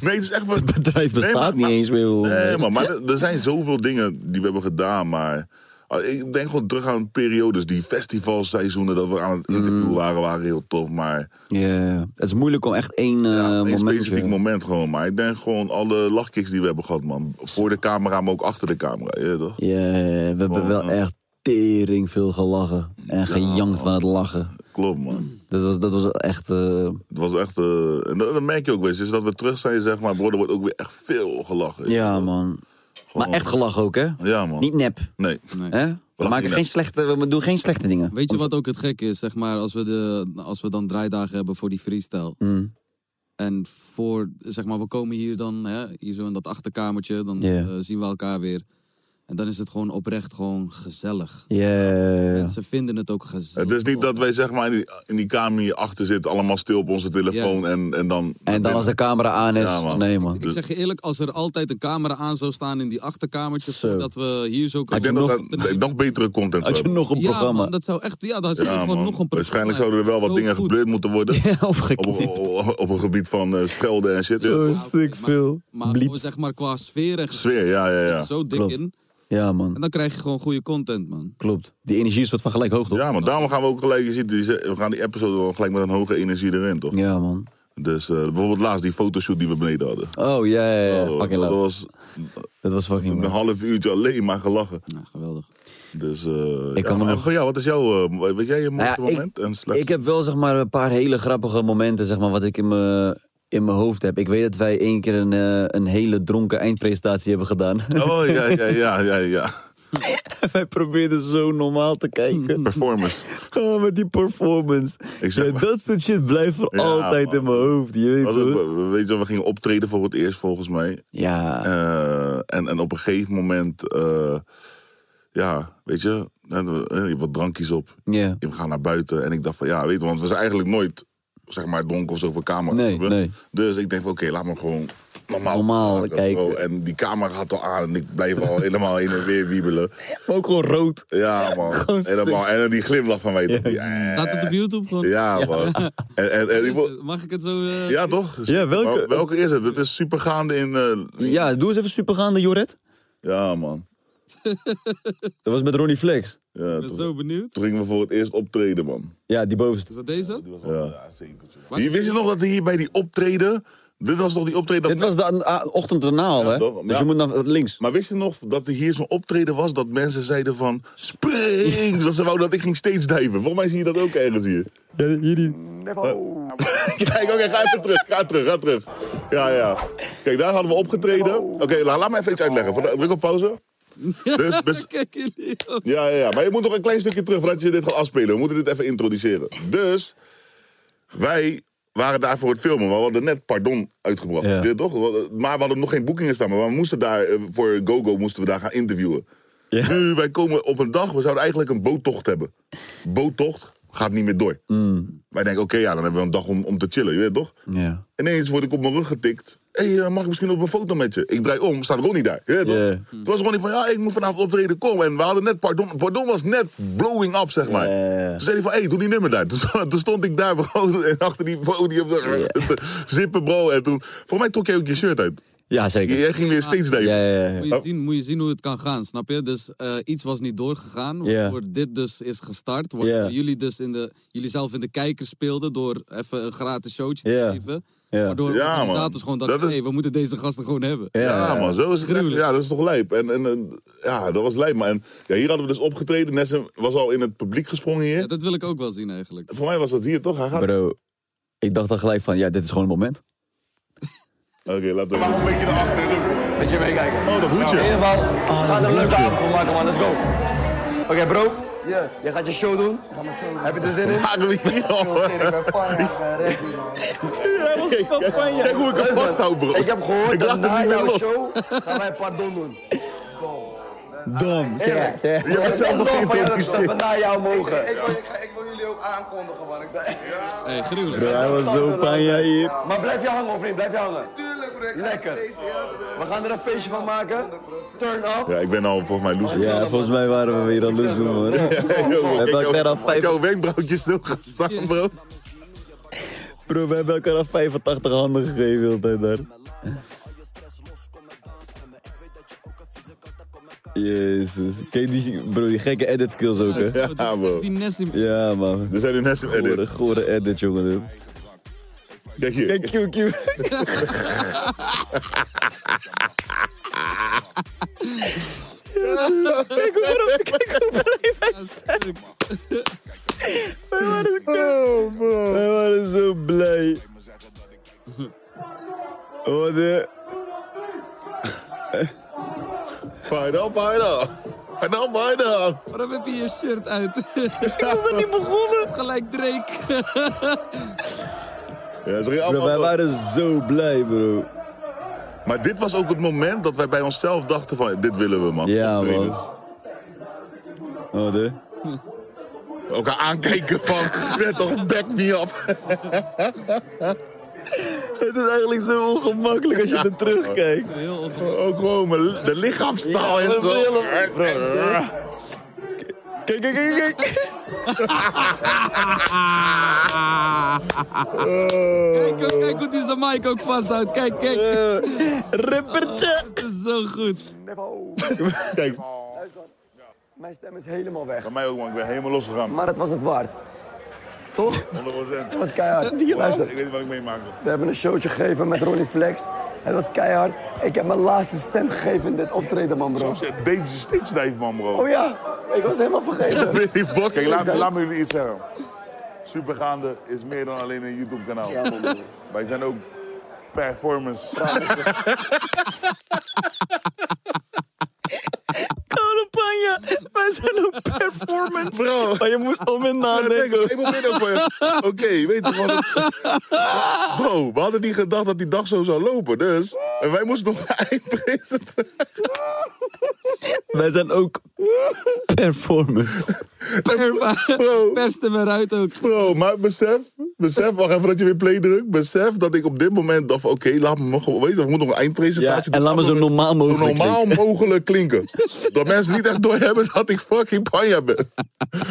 S10: nee, het is echt. Het
S11: bedrijf bestaat niet eens meer. hoor.
S10: Nee, maar, maar er er zijn zoveel dingen die we hebben gedaan, maar... ah, Ik denk gewoon terug aan periodes. Die festivalseizoenen dat we aan het
S11: Mm.
S10: interview waren, waren heel tof. Maar
S11: Ja, het is moeilijk om echt één eh
S10: een
S11: moment
S10: specifiek moment gewoon. Maar ik denk gewoon alle lachkicks die we hebben gehad, man. Voor de camera, maar ook achter de camera. Ja, toch?
S11: Ja, we hebben wel echt tering veel gelachen. En gejankt van het lachen.
S10: Klopt, man.
S11: Dat was, dat was echt... eh,
S10: Het was echt... eh, en dat, dat merk je ook wel eens. Is dat we terug zijn, zeg maar. Bro, er wordt ook weer echt veel gelachen.
S11: ja, man. Maar echt gelachen ook, hè?
S10: Ja, man.
S11: Niet nep.
S10: Nee.
S11: Hè? We,
S5: Oh. niet
S11: maken geen
S5: nep.
S11: slechte, we doen geen slechte dingen.
S5: Weet je wat ook het gekke is, zeg maar, als we, de, als we dan draaidagen hebben voor die freestyle.
S11: Mm.
S5: En voor, zeg maar, we komen hier dan, hè, hier zo in dat achterkamertje, dan
S11: Ja.
S5: eh, zien we elkaar weer. En dan is het gewoon oprecht gewoon gezellig.
S11: Ja,
S5: Ze vinden het ook gezellig.
S10: Het is niet dat wij zeg maar in die, in die kamer hierachter zitten, allemaal stil op onze telefoon en, en dan...
S11: En dan als de camera aan is...
S10: Ja, man.
S11: Nee, man.
S5: Ik zeg je eerlijk, als er altijd een camera aan zou staan in die achterkamertje, voordat we hier zo
S10: Ik
S5: komen.
S10: denk dat dat dat nog betere content
S11: Had je
S10: zou
S11: nog een
S5: ja,
S11: programma?
S5: Man, dat zou echt, ja, dat zou
S10: Ja,
S5: gewoon
S10: man.
S5: nog een programma.
S10: Waarschijnlijk zouden er wel wat dingen gebeurd moeten worden. op, op, op een gebied van eh schelden en shit. weet je wel.
S11: veel.
S5: Maar gewoon zeg maar qua sfeer en
S10: Sfeer, ja, ja, ja.
S5: zo dik
S11: Klopt.
S5: in.
S11: Ja, man.
S5: En dan krijg je gewoon goede content, man.
S11: Klopt. Die energie is wat van gelijk hoog, toch?
S10: Ja, maar daarom gaan we ook gelijk, je ziet, die- we gaan die episode wel gelijk met een hoge energie erin, toch?
S11: Ja, man.
S10: Dus eh, bijvoorbeeld laatst die fotoshoot die we beneden hadden.
S11: Oh, ja, ja, ja.
S10: Oh,
S11: Fucking
S10: dat
S11: lauw.
S10: was
S11: Dat was fucking
S10: een
S11: lauw.
S10: half uurtje alleen maar gelachen.
S5: Ja, geweldig.
S10: Dus, eh ja,
S11: kan me
S10: maar-
S11: nog-
S10: Goh, ja, wat is jouw, eh, weet jij je
S11: Nou ja,
S10: mooiste
S11: ik-
S10: moment? en slechtste?
S11: Ik heb wel zeg maar een paar hele grappige momenten, zeg maar, wat ik in mijn in mijn hoofd heb. Ik weet dat wij één keer een, eh, een hele dronken eindpresentatie hebben gedaan.
S10: Oh, ja, ja, ja, ja, ja.
S11: wij probeerden zo normaal te kijken.
S10: Performance.
S11: Oh, met die performance.
S10: Ik zeg
S11: Ja,
S10: maar-
S11: dat soort shit blijft voor
S10: Ja,
S11: altijd
S10: man.
S11: in mijn hoofd. Je weet
S10: Was
S11: toch?
S10: ook- we- weet je, wel, we gingen optreden voor het eerst volgens mij.
S11: Ja.
S10: Eh, en, en op een gegeven moment, eh, ja, weet je, hè, we- hè, je hebt wat drankjes op.
S11: Ja.
S10: We gaan naar buiten. En ik dacht van, ja, weet je, want we zijn eigenlijk nooit, zeg maar, donker of zo voor camera.
S11: Nee,
S10: Snap je?
S11: nee.
S10: Dus ik denk van, oké, laat me gewoon normaal,
S11: Normaal
S10: praten,
S11: kijken.
S10: bro. En die camera had al aan en ik blijf al helemaal heen en weer wiebelen.
S11: Maar ook gewoon rood.
S10: Ja, man.
S11: Gewoon stuk.
S10: Helemaal. En dan die glimlach van mij. toch? Die, eh.
S5: Staat het op YouTube gewoon?
S10: Ja, man. En, en, en, ik wil-
S5: Mag ik het zo... eh,
S10: ja, toch?
S11: Ja, welke-
S10: Maar welke is het? Het is supergaande in... eh,
S11: Ja, doe eens even supergaande, Joret.
S10: Ja, man.
S11: Dat was met Ronnie Flex.
S10: Ja,
S5: Ik ben
S10: toen,
S5: zo benieuwd.
S10: toen gingen we voor het eerst optreden, man.
S11: Ja, die bovenste.
S5: Is dat deze?
S10: Ja. Hier, wist je nog dat hier bij die optreden... Dit was toch die optreden... dat
S11: Dit was de a- ochtend daarna al, hè?
S10: toch?
S11: Dus
S10: Ja.
S11: je moet naar links.
S10: Maar wist je nog dat er hier zo'n optreden was dat mensen zeiden van... Spring! Dat ze wouden dat ik ging steeds dijven. Volgens mij zie je dat ook ergens hier.
S11: Ja, hierdie.
S10: Kijk, oké, ga even terug. Ga terug, ga terug. Ja, ja. Kijk, daar hadden we opgetreden. Oké, la- laat me even iets uitleggen. Voor de- Druk op pauze. Dus, dus,
S5: Kijk jullie.
S10: ja, ja, ja, maar je moet nog een klein stukje terug voordat je dit gaat afspelen. We moeten dit even introduceren. Dus, wij waren daar voor het filmen. Maar we hadden net Pardon uitgebracht.
S11: Ja.
S10: Weet je toch? We hadden- Maar we hadden nog geen boekingen staan. Maar we moesten daar, eh, voor GoGo moesten we daar gaan interviewen. Nu, wij komen op een dag, we zouden eigenlijk een boottocht hebben. Boottocht gaat niet meer door. Wij denken, oké, ja, dan hebben we een dag om, om te chillen, je weet toch?
S11: Ja.
S10: Ineens word ik op mijn rug getikt Hé, hey, eh, mag ik misschien op een foto met je? Ik draai om, staat Ronnie daar. Je weet toch? Toen was Ronnie van, ja, ik moet vanavond optreden, kom. En we hadden net, Pardon, Pardon was net blowing up, zeg maar. Toen zei hij van, hé, hey, doe die nummer daar. Toen, toen stond ik daar, bro, en achter die podium, zo, te zippen, bro. En toen, volgens mij trok jij ook je shirt uit.
S11: Ja, zeker.
S10: Jij ging weer steeds daar.
S5: Moet,
S11: Oh.
S5: je zien, moet je zien hoe het kan gaan, snap je? Dus eh, iets was niet doorgegaan,
S11: Ja.
S5: waardoor dit dus is gestart. Waardoor
S11: Ja.
S5: jullie dus in de, jullie zelf in de kijker speelden door even een gratis showtje te
S11: Ja.
S5: geven.
S11: Ja.
S5: Waardoor
S10: Ja, man.
S5: organisators gewoon dachten,
S10: Dat is-
S5: hey, we moeten deze gasten gewoon hebben.
S10: Ja, man, zo is het. echt. Ja, dat is toch lijp. En, en, en, ja, dat was lijp. Maar en, ja, hier hadden we dus opgetreden. Nessen was al in het publiek gesprongen hier.
S5: dat wil ik ook wel zien eigenlijk.
S10: Voor mij was dat hier toch? Hij gaat...
S11: Bro, ik dacht dan gelijk van, ja, dit is gewoon een moment.
S10: Oké, laten we. Maar een beetje naar achteren doen.
S14: Beetje meekijken.
S10: Oh, dat hoedje.
S14: in ieder geval,
S10: dat
S14: gaat er een leuke
S10: hoedje.
S14: avond van maken, man. Let's go. Oké, bro. Yes. Jij gaat je show doen. Ik ga mijn show doen. Heb je er zin in?
S10: Maken we hier
S14: Kijk hoe ik hem vasthoud,
S10: bro.
S14: Ik heb gehoord
S10: Ik
S14: dat
S10: laat hem
S14: na
S10: niet meer
S14: jouw
S10: los.
S14: show gaan wij pardon doen.
S10: Dom.
S14: Eerlijk.
S10: Je hebt zelf nog
S14: Ik ben dol van jou dat we
S10: geïntroduceerd.
S14: na jou mogen.
S5: Hey, gruwelijk.
S11: Bro, hij was zo panja hier.
S14: Maar blijf je hangen of niet? Blijf je hangen? Tuurlijk, bro. Lekker. We gaan er een feestje van maken. Turn up.
S10: Ja, ik ben al volgens mij loes.
S11: Ja, volgens mij waren we weer aan loes doen, man. We hebben elkaar al
S10: vijf... Jouw wenkbrauwtjes zo gestaan, bro.
S11: Bro, we hebben elkaar al 85 handen gegeven de hele tijd daar. Jezus. Kijk die, bro, die gekke edit skills ook, hè?
S10: Ja, bro. Dus
S5: Die Neslim.
S11: Ja, man.
S10: Er zijn een Neslim edit.
S11: Gore, gore edit, jongen. dit.
S10: Kijk hier.
S11: Kijk, Q, Q.
S14: Kijk hoe erop, kijk hoe
S11: Oh, man. Wij waren zo blij. Oh, de...
S10: Fijn dan, fijn dan. Fijn dan, fijn dan.
S5: Waarom heb je je shirt uit? ik was nog niet begonnen. Gelijk Drake.
S10: Ja, ze gingen
S11: Bro,
S10: allemaal
S11: wij
S10: zo.
S11: waren zo blij, bro.
S10: Maar dit was ook het moment dat wij bij onszelf dachten van, dit willen we, man.
S11: Ja, man.
S10: Optredens.
S11: Oh, de...
S10: Elkaar aankijken van, "Fred, toch, back me up.
S11: Het is eigenlijk zo ongemakkelijk als je er terugkijkt.
S10: Ook gewoon mijn- de lichaamstaal en zo.
S11: Kijk, kijk, kijk, kijk.
S5: Kijk, kijk, kijk hoe die zijn mic ook vasthoudt. Kijk, kijk.
S11: Rippertje.
S5: Het is zo goed.
S10: Kijk.
S14: Mijn stem is helemaal weg.
S10: Bij mij ook, man. Ik ben helemaal losgegaan.
S14: Maar het was het waard. Toch?
S10: 100%.
S14: Het was keihard. Luister,
S10: Ik weet niet wat ik meemaakte.
S14: we hebben een showtje gegeven met Ronnie Flex. Het was keihard. Ik heb mijn laatste stem gegeven in dit optreden, man, bro.
S10: Deze deed ze steeds stijf, man, bro.
S14: Oh ja, ik was het helemaal vergeten.
S10: Kijk, laat, laat me jullie iets zeggen. Supergaande is meer dan alleen een YouTube-kanaal.
S14: Ja, man, bro.
S10: Wij zijn ook performance.
S14: Campagne, wij zijn een performance.
S10: Bro.
S11: Maar je moest al met nadenken.
S10: Ik moet dit ook voor je. Oké, weet je wat? Bro, we hadden niet gedacht dat die dag zo zou lopen, dus. En wij moesten nog eindprijzen.
S11: Wij zijn ook performance.
S10: Bro.
S5: Perste me eruit ook.
S10: Bro, maar besef, besef, wacht even dat je weer play drukt. Besef dat ik op dit moment dacht: van, oké, laat me maar gewoon, weet je, ik moet nog een eindpresentatie
S11: Ja, en laat me zo normaal
S10: Zo
S11: mogelijk
S10: normaal mogelijk klinken. dat mensen niet echt doorhebben dat ik fucking panja ben.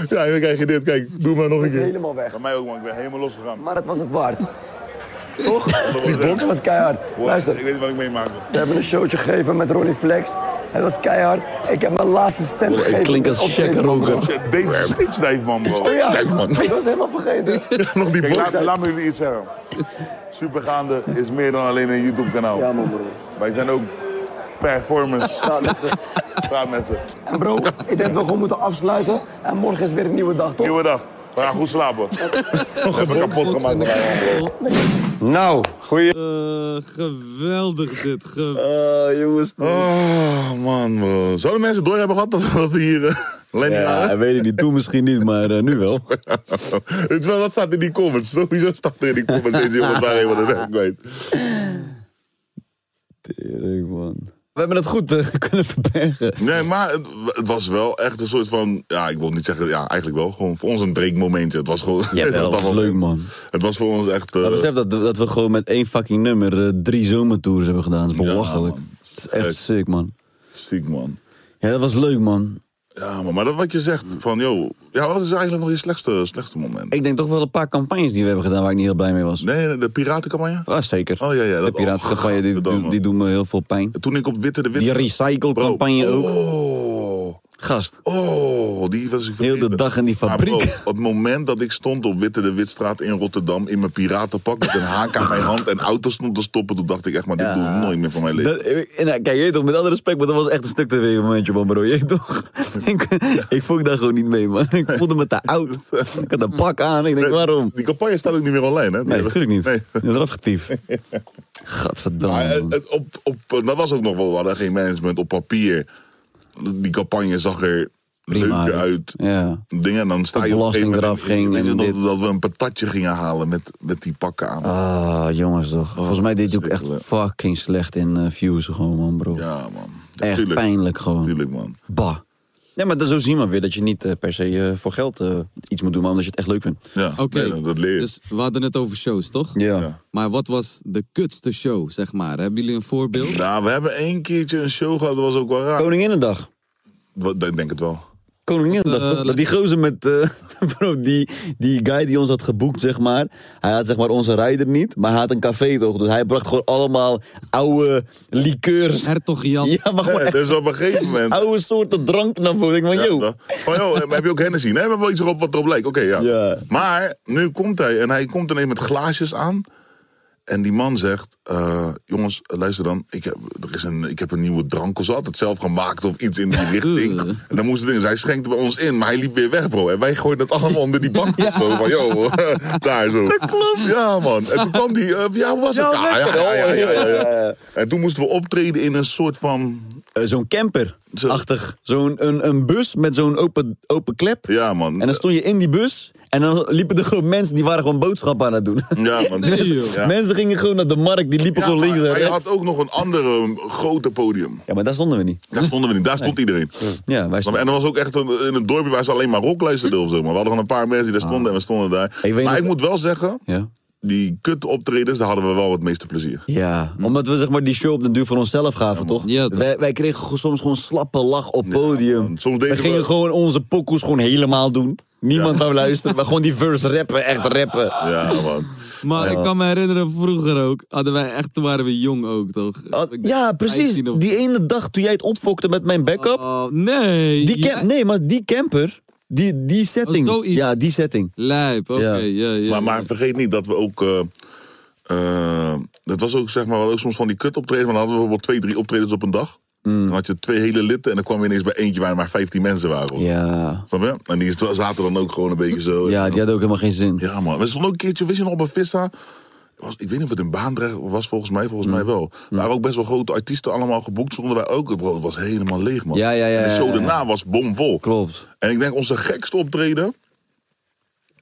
S10: ja, en dan krijg je dit, kijk, doe maar nog een
S14: Het is
S10: keer.
S14: helemaal weg. Bij
S10: mij ook, man, ik ben helemaal losgegaan.
S14: Maar het was het waard. Toch? Die box was keihard. Luister,
S10: weet niet wat ik meemaakte.
S14: we hebben een showtje gegeven met Ronnie Flex. Het was keihard. Ik heb mijn laatste stem gegeven.
S11: klink als
S14: in dit optreden,
S11: gekke
S14: man, bro.
S11: roker.
S10: Deze steeds stijf, man, bro.
S14: Oh ja,
S10: Stijf, man.
S14: ik was het helemaal vergeten.
S10: nog die
S14: box.
S10: Kijk, laat, laat me jullie iets zeggen. Supergaande is meer dan alleen een YouTube-kanaal.
S14: Ja, man, bro.
S10: Wij zijn ook performance.
S14: Praat met ze.
S10: Praat met ze.
S14: En bro, ik denk dat we gewoon moeten afsluiten. En morgen is weer een nieuwe dag, toch?
S10: Nieuwe dag. We gaan goed slapen. We hebben kapot gemaakt. met elkaar, man.
S14: Nou, goeie...
S5: Eh, geweldig dit. Geweldig.
S11: Oh, jongens.
S10: Oh, man, bro. Zouden mensen door hebben gehad dat, dat we hier... eh, Lenny
S11: Ja,
S10: waren?
S11: hij weet het niet. Toen misschien niet, maar eh, nu wel.
S10: Het wel, dat staat in die comments. Sowieso staat er in die comments. Deze jongens waren helemaal de weg kwijt.
S11: Tering, man. We hebben het goed eh, kunnen verbergen.
S10: Nee, maar het, het was wel echt een soort van... Ja, ik wil niet zeggen... Ja, eigenlijk wel. Gewoon voor ons een Drake-momentje. Het was gewoon...
S11: Jawel,
S10: dat
S11: was leuk, man.
S10: Het was voor ons echt... eh,
S11: Maar besef dat, dat we gewoon met één fucking nummer eh, drie zomertours hebben gedaan. Dat is belachelijk. Het is echt sick, man.
S10: Ziek, man.
S11: Ja, dat was leuk, man.
S10: Ja, maar, maar dat wat je zegt, van joh, ja, wat is eigenlijk nog je slechtste, slechtste moment?
S11: Ik denk toch wel een paar campagnes die we hebben gedaan waar ik niet heel blij mee was.
S10: Nee, de piratencampagne?
S11: Ah, zeker.
S10: Oh ja, ja.
S11: De
S10: Dat,
S11: piratencampagne, die, die, die doen me heel veel pijn.
S10: Toen ik op Witte de Witte...
S11: Die recyclecampagne ook. Gast.
S10: Oh, die was ik
S11: Heel de dag in die
S10: Maar
S11: fabriek.
S10: bro, op het moment dat ik stond op Witte de Witstraat in Rotterdam in mijn piratenpak met een haak aan mijn hand en auto stond te stoppen, toen dacht ik echt, maar dit doe ik nooit meer van mijn leven.
S11: Dat- en, nou, kijk, je weet toch, met alle respect, maar dat was echt een stuk tv momentje, man, bro. Je weet toch? ik, ik voel daar gewoon niet mee, man. Ik voelde me te oud. Ik had een pak aan. Ik denk, waarom?
S10: Die campagne staat ook niet meer online, hè?
S11: Nee, natuurlijk niet. Nee. eraf getiefd. Gadverdamme.
S10: Maar, eh,
S11: man.
S10: het- op, op, eh, dat was ook nog wel, we hadden geen management op papier. Die campagne zag er leuker uit.
S11: Ja.
S10: Dingen, en dan sta
S11: De
S10: je op een gegeven
S11: belasting
S10: moment...
S11: eraf ging
S10: weet je
S11: en
S10: nog
S11: dit.
S10: dat we een patatje gingen halen met, met die pakken aan.
S11: Ah, jongens toch.
S10: Oh,
S11: Volgens mij deed hij ook echt fucking slecht in eh, views gewoon, man, bro.
S10: Ja, man.
S11: echt
S10: tuurlijk.
S11: pijnlijk gewoon.
S10: Tuurlijk, man.
S11: Bah. Ja, maar dat- zo zien we weer dat je niet eh, per se eh, voor geld eh, iets moet doen, maar omdat je het echt leuk vindt.
S10: Ja,
S5: Oké, dus we hadden het over shows, toch?
S11: Ja.
S5: Maar wat was de kutste show, zeg maar? Hebben jullie een voorbeeld?
S10: Nou, we hebben één keertje een show gehad, dat was ook wel raar.
S11: Koninginnedag.
S10: Wat, ik denk het wel.
S11: Koninginnedag,
S10: Eh,
S11: toch? Dat die gozer met... eh, bro, die, die guy die ons had geboekt, zeg maar. Hij had zeg maar onze rijder niet, maar hij had een café toch? Dus hij bracht gewoon allemaal oude liqueurs.
S5: Hertog Jan.
S11: Ja, maar gewoon
S10: Nee,
S11: echt
S10: dus op een gegeven moment...
S11: oude soorten drank naar voren. Ik denk van,
S10: Ja,
S11: yo.
S10: toch? Van, joh, heb- heb je ook Hennessy? Nee, we hebben wel iets erop wat erop lijkt. Oké, ja. Maar nu komt hij en hij komt ineens met glaasjes aan. En die man zegt, eh, jongens, luister dan. Ik heb, er is een, ik heb een nieuwe drank of zo. Had het zelf gemaakt of iets in die richting. En dan moesten dingen. Zij schenkte bij ons in, maar hij liep weer weg, bro. En wij gooiden dat allemaal onder die bank of zo. Van, joh, daar zo. Dat klopt. Ja, man. En toen kwam die, eh, ja, hoe was het?
S11: Ja,
S10: Ja,
S11: lekker,
S10: ja, ja, ja, ja, ja.
S11: hoor.
S10: En toen moesten we optreden in een soort van...
S11: Eh, zo'n camper-achtig. Zo'n een, een bus met zo'n open, open klep.
S10: Ja, man.
S11: En dan stond je in die bus. En dan liepen er gewoon mensen die waren gewoon boodschappen aan het doen.
S10: Ja, man.
S11: mensen,
S10: Ja.
S11: mensen gingen gewoon naar de markt. Die liepen gewoon links en
S10: Maar je
S11: rechts.
S10: had ook nog een ander um, grote podium.
S11: Ja, maar daar stonden we niet.
S10: Daar stonden we niet, daar stond iedereen.
S11: Ja, wij stonden-
S10: En er was ook echt een, in een dorpje waar ze alleen maar rock luisterden of zo. Maar we hadden gewoon een paar mensen die daar
S11: Ah.
S10: stonden en we stonden daar. maar ik moet wel zeggen,
S11: Ja.
S10: die kut optredens, daar hadden we wel het meeste plezier.
S11: Ja, Hm. omdat we zeg maar die show op den duur voor onszelf gaven, toch? wij, wij kregen gewoon soms gewoon slappe lach op podium.
S10: soms
S11: we
S10: deden
S11: gingen
S10: we-
S11: gewoon onze pokoes gewoon helemaal doen. Niemand wou luisteren, maar gewoon die verse rappen, echt rappen.
S10: Ja, man.
S5: Maar ik kan me herinneren, vroeger ook, hadden wij echt, toen waren we jong ook, toch?
S11: Ja, precies. Die Oh, ene dag toen jij het opfokte met mijn backup.
S5: Oh, nee.
S11: Die cam- Nee, maar die camper, die, die setting.
S5: zoiets.
S11: ja, die setting.
S5: Lijp, oké. Ja. Ja,
S10: maar, maar vergeet niet dat we ook... eh, eh, dat was ook, zeg maar, we hadden ook soms van die kut optredens. Maar dan hadden we bijvoorbeeld twee, drie optredens op een dag.
S11: Mm.
S10: Dan had je twee hele litten en dan kwam je ineens bij eentje waar maar 15 mensen waren.
S11: Ja.
S10: Snap je? En die zaten dan ook gewoon een beetje zo.
S11: Ja, die had ook helemaal geen zin.
S10: Ja, man. We stonden ook een keertje, wist je nog, op een vissa. Was, ik weet niet of het in Baandrecht was, volgens mij, volgens
S11: Mm.
S10: mij wel. Daar waren ook best wel grote artiesten allemaal geboekt. Stonden wij ook. Bro, het was helemaal leeg, man.
S11: Ja, ja, ja,
S10: En de
S11: ja,
S10: show
S11: ja, ja.
S10: daarna was bomvol.
S11: Klopt.
S10: En ik denk, onze gekste optreden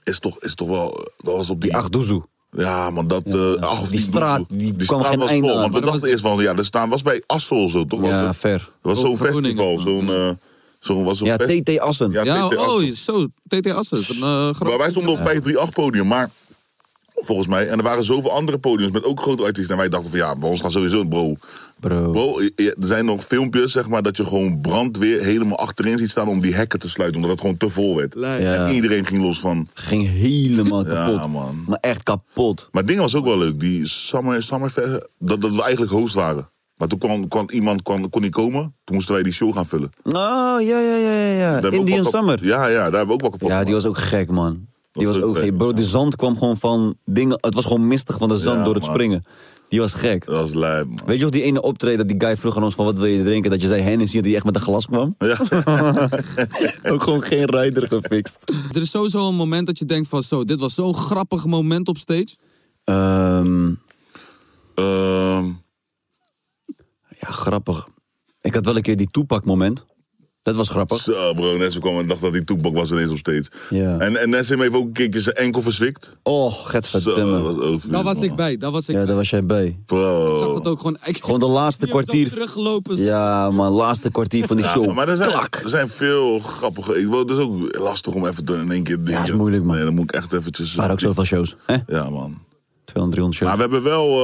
S10: is toch, is toch wel... eh, Dat was op die...
S11: acht doezoe.
S10: Ja, man, dat... eh acht of
S11: Die
S10: tien
S11: straat,
S10: doezoe.
S11: die kwam geen
S10: was
S11: einde
S10: vol.
S11: aan.
S10: Want we
S11: Maar dat
S10: dachten eerst van, ja, dat staan was bij Assel zo, toch?
S11: Ja,
S10: was het?
S11: ver.
S10: Dat was zo'n festival, zo'n... eh, zo'n was zo'n
S11: Ja,
S10: fest-
S11: TT Assen.
S10: Ja,
S5: Ja,
S10: TT Assen.
S5: oh, zo, TT Assers. Een, eh, groot-
S10: Maar wij stonden op 538 podium, maar volgens mij, en er waren zoveel andere podiums met ook grote artiesten. En wij dachten van ja, bij ons gaan sowieso, bro.
S11: Bro.
S10: je- je- er zijn nog filmpjes, zeg maar, dat je gewoon brandweer helemaal achterin ziet staan om die hekken te sluiten, omdat het gewoon te vol werd.
S11: Ja.
S10: En iedereen ging los van.
S11: Ging helemaal
S10: Ja,
S11: kapot.
S10: man.
S11: Maar echt kapot.
S10: Maar het ding was ook wel leuk, die summer, summer Fair, dat, dat we eigenlijk host waren. Maar toen kwam, kwam iemand kwam, kon niet komen, toen moesten wij die show gaan vullen.
S11: Oh, ja, ja, ja, ja, ja.
S10: hebben we ook
S11: Indian
S10: wel kap-
S11: Summer.
S10: Ja, ja, daar hebben we ook wel kapot
S11: Ja, die was ook gek, man. Die was
S10: ook
S11: ook
S10: gek,
S11: gek. Bro, de zand kwam gewoon van dingen... Het was gewoon mistig van de zand
S10: Ja,
S11: door het
S10: man.
S11: springen. Die was gek.
S10: Dat was lijp, man.
S11: Weet je nog die ene optreden dat die guy vroeg aan ons van wat wil je drinken? Dat je zei Hennessy en die echt met een glas kwam?
S10: Ja.
S11: ook gewoon geen rider gefixt.
S5: Er is sowieso een moment dat je denkt van zo, dit was zo'n grappig moment op stage.
S11: Ehm,
S10: Ehm,
S11: ja, grappig. Ik had wel een keer die toepak moment. Dat was grappig.
S10: Zo, bro, Nessie kwam en dacht dat die toekbok was ineens op stage.
S11: Ja.
S10: En, en Nessim heeft ook een keertje zijn enkel verslikt.
S11: Oh,
S10: Zo, dat was over.
S5: Daar Nou was ik bij, daar was
S11: Ja,
S5: ik bij.
S11: daar was jij bij.
S10: Bro.
S5: Ik zag dat ook gewoon... Ik,
S11: Gewoon de laatste
S5: Die heeft dan
S11: kwartier.
S5: teruggelopen.
S11: Ja, man, laatste kwartier van die
S10: Ja,
S11: show.
S10: maar er zijn,
S11: Klak.
S10: er zijn veel grappige. Ik, het is ook lastig om even te- in één keer. Ja,
S11: dat is moeilijk,
S10: man. Nee, dan moet ik echt eventjes.
S11: Waren ook zoveel shows. Hè?
S10: Ja, man.
S11: 200, 300 shows.
S10: Maar we hebben wel.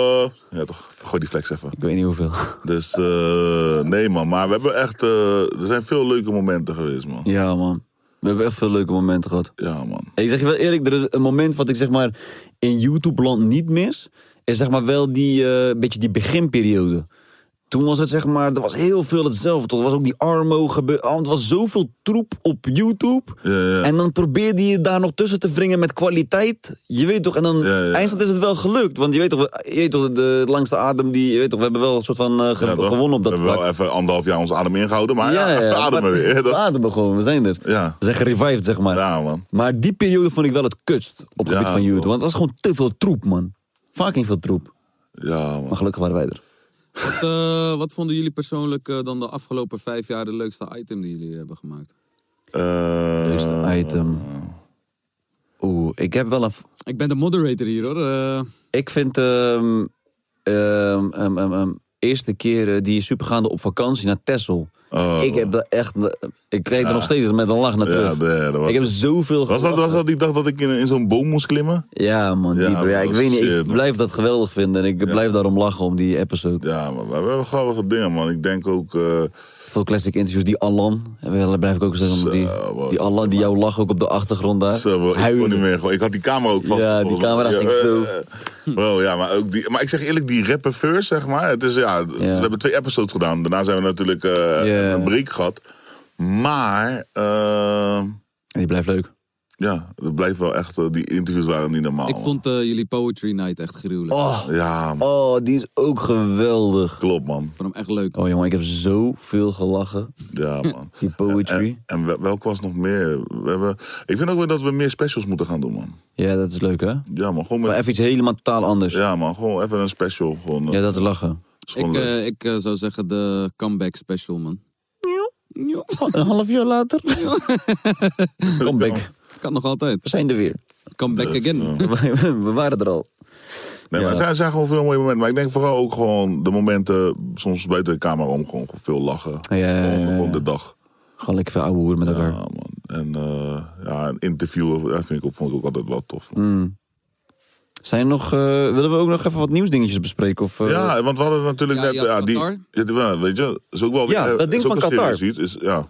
S10: eh, ja, toch. Gooi die flex even.
S11: Ik weet niet hoeveel.
S10: Dus eh, nee, man. Maar we hebben echt. eh, er zijn veel leuke momenten geweest, man.
S11: Ja, man. We hebben echt veel leuke momenten gehad.
S10: Ja, man.
S11: Ik zeg je wel eerlijk, er is een moment wat ik zeg maar in YouTube-land niet mis. Is zeg maar wel die, eh, beetje die beginperiode. Toen was het zeg maar, er was heel veel hetzelfde. Er was ook die Armo gebeurd. Oh, er was zoveel troep op YouTube. En dan probeerde je daar nog tussen te wringen met kwaliteit. Je weet toch, en dan eindstand is het wel gelukt. Want je weet toch, je weet toch de langste adem die, je weet toch, we hebben wel een soort van eh, ge-
S10: Ja, toch?
S11: gewonnen op
S10: We
S11: dat
S10: hebben wel
S11: vlak.
S10: even anderhalf jaar ons adem ingehouden. Maar ja, we ademen
S11: maar-
S10: weer.
S11: We
S10: Dat,
S11: ademen gewoon, we zijn er.
S10: ja.
S11: We zijn gerevived, zeg maar.
S10: ja, man.
S11: Maar die periode vond ik wel het kutst op het
S10: Ja,
S11: gebied van YouTube. Want het was gewoon te veel troep, man. Fucking veel troep.
S10: Ja, man.
S11: Maar gelukkig waren wij er.
S5: Wat, eh, wat vonden jullie persoonlijk eh, dan de afgelopen vijf jaar de leukste item die jullie hebben gemaakt?
S10: Eh,
S11: Eerste Dus item. Oeh, ik heb wel een...
S5: Ik ben de moderator hier hoor. Eh,
S11: Ik vind... ehm, ehm, ehm, ehm, ehm, eerste keer eh, die supergaande op vakantie naar Texel.
S10: Oh.
S11: ik heb er echt... eh, Ik krijg er nog steeds met een lach naar terug. ik heb zoveel...
S10: Was dat, was dat die dag dat ik in, in zo'n boom moest klimmen?
S11: Ja, man.
S10: Ja,
S11: die- Ja, ik
S10: dat
S11: weet niet,
S10: shit,
S11: ik
S10: man.
S11: blijf dat geweldig vinden. En ik blijf daarom lachen om die episode.
S10: Ja, maar we hebben wel grappige dingen, man. Ik denk ook... eh,
S11: Veel classic interviews. Die Alan, daar blijf ik ook zeggen. om die, die Alan die jou lag ook op de achtergrond daar.
S10: Zo, bro, ik kon niet meer. gewoon- Ik had die camera ook vast.
S11: Ja, die
S10: volgens mij.
S11: camera ging
S10: eh,
S11: zo.
S10: eh, Bro, ja, maar, ook die, maar ik zeg eerlijk, die rapper first, zeg maar. Het is, ja, We hebben twee episodes gedaan. Daarna zijn we natuurlijk eh, een break gehad. Maar... eh,
S11: En die blijft leuk.
S10: ja, dat blijft wel echt... eh, die interviews waren niet normaal.
S5: ik vond eh, jullie Poetry Night echt gruwelijk.
S11: Oh,
S10: ja,
S11: oh, die is ook geweldig.
S10: Klopt, man.
S5: Ik vond hem echt leuk.
S11: Oh jongen, ik heb zoveel gelachen.
S10: Ja, man.
S11: Die poetry.
S10: En, en wel- welk was nog meer? We hebben, ik vind ook wel dat we meer specials moeten gaan doen, man.
S11: Ja, dat is leuk hè?
S10: Ja, man. Gewoon met-
S11: Maar even iets helemaal totaal anders.
S10: ja, man. Gewoon even een special. Gewoon, eh,
S11: Ja, dat is lachen.
S10: is
S5: Ik,
S10: gewoon leuk.
S5: eh, ik eh, zou zeggen de comeback special man.
S11: Een half jaar later. eh, Comeback.
S5: Kan nog altijd.
S11: We zijn er weer.
S5: Comeback
S11: Dus, eh,
S5: again.
S11: We, we waren er al.
S10: Nee, maar
S11: Ja.
S10: er zijn, er zijn gewoon veel mooie momenten. Maar ik denk vooral ook gewoon de momenten, soms buiten de camera om, gewoon veel lachen.
S11: Ja, ja, ja,
S10: Gewoon,
S11: ja.
S10: gewoon de dag.
S11: Gewoon lekker veel ouwe hoeren met elkaar.
S10: En eh, ja, een interview dat vind ik, ook- vond ik ook altijd wel tof.
S11: Mm. Zijn er nog, eh, willen we ook nog even wat nieuwsdingetjes bespreken? Of, eh,
S10: ja, want we hadden natuurlijk
S5: Ja,
S10: net...
S5: je had
S10: Ja, die,
S5: Qatar.
S10: ja, die- ja, weet je, is ook wel... weer-
S11: Ja,
S10: eh,
S11: dat ding
S10: is ook
S11: van
S10: een
S11: Qatar.
S10: serieus Iets, is, ja.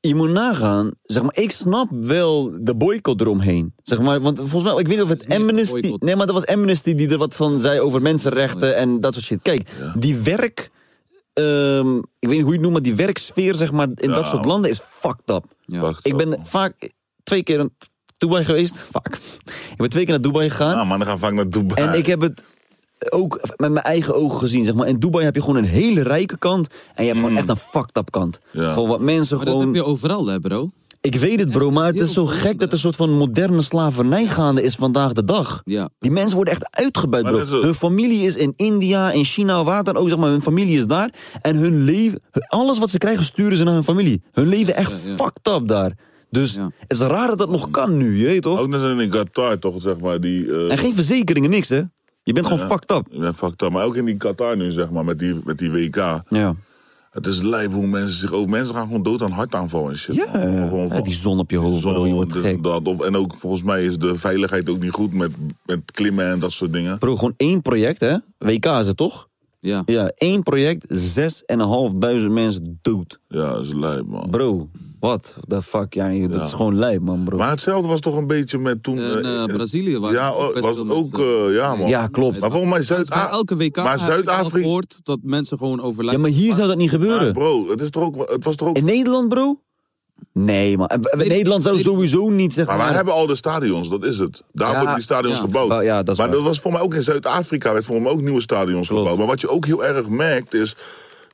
S11: je moet nagaan, zeg maar, ik snap wel de boycott eromheen. Zeg maar, want volgens mij, ik weet niet of het Amnesty... Nee, maar dat was Amnesty die er wat van zei over mensenrechten en dat soort shit. Kijk, die werk... ehm, ik weet niet hoe je het noemt, maar die werksfeer, zeg maar, in
S10: Ja.
S11: dat soort landen is fucked up.
S10: Fucked
S11: ik
S10: up,
S11: ben
S10: man.
S11: vaak twee keer naar Dubai geweest. Vaak. Ik ben twee keer naar Dubai gegaan.
S10: Nou, mannen gaan vaak naar Dubai.
S11: En ik heb het ook met mijn eigen ogen gezien. Zeg maar. In Dubai heb je gewoon een hele rijke kant. En je hebt gewoon echt een fucked up kant.
S5: Ja.
S11: Gewoon wat mensen
S5: Maar dat
S11: gewoon...
S5: heb je overal hè bro.
S11: Ik weet het bro, maar het is zo gek dat er een soort van moderne slavernij gaande is vandaag de dag.
S5: Ja.
S11: Die mensen worden echt uitgebuit
S10: Maar
S11: bro.
S10: dat is ook-
S11: Hun familie is in India, in China, waar dan ook zeg maar. Hun familie is daar. En hun leven, hun- alles wat ze krijgen sturen ze naar hun familie. Hun leven echt fucked up daar. Dus het is raar dat dat nog kan nu, je weet toch?
S10: Ook net als in Qatar toch, zeg maar, die... eh,
S11: En geen verzekeringen, niks hè. Je bent gewoon
S10: Ja.
S11: fucked up.
S10: Ja, fucked up. Maar ook in die Qatar nu, zeg maar, met die, met die WK.
S11: Ja.
S10: Het is lijp hoe mensen zich over... Mensen gaan gewoon dood aan hartaanval en shit. man. Gewoon
S11: Ja,
S10: van-
S11: die zon op je hoofd, bro, je wordt
S10: dit,
S11: gek.
S10: Dat, of, en ook volgens mij is de veiligheid ook niet goed met, met klimmen en dat soort dingen.
S11: Bro, gewoon één project, hè? WK is het toch?
S5: Ja.
S11: Ja, één project, 6.500 mensen dood.
S10: Ja, dat is lijp, man.
S11: Bro, wat the fuck? Ja, dat is gewoon lijp, man, bro.
S10: Maar hetzelfde was toch een beetje met toen...
S5: En
S10: eh,
S5: eh, Brazilië waar
S10: ja,
S5: ook best
S10: oh, was
S5: veel
S10: ook...
S5: mensen-
S10: eh, ja, man.
S11: Ja, klopt.
S10: Maar volgens mij Zuid-
S5: Bij elke WK
S10: Maar
S5: maar Zuid-Afrika
S10: Zuid-Afrika-
S5: gehoord dat mensen gewoon
S11: Ja,
S5: overlijden.
S11: maar hier zou dat niet
S10: Ja,
S11: gebeuren.
S10: bro, het, is toch ook, het was toch ook...
S11: In Nederland, bro? Nee, man. En- en Nederland zou sowieso niet zeggen...
S10: Maar wij hebben al de stadions, dat is het. Daar
S11: Ja,
S10: worden die stadions
S11: ja.
S10: gebouwd.
S11: Ja, dat is
S10: maar
S11: waar.
S10: dat was voor mij ook in Zuid-Afrika, werd voor mij ook nieuwe stadions gebouwd. Maar wat je ook heel erg merkt is.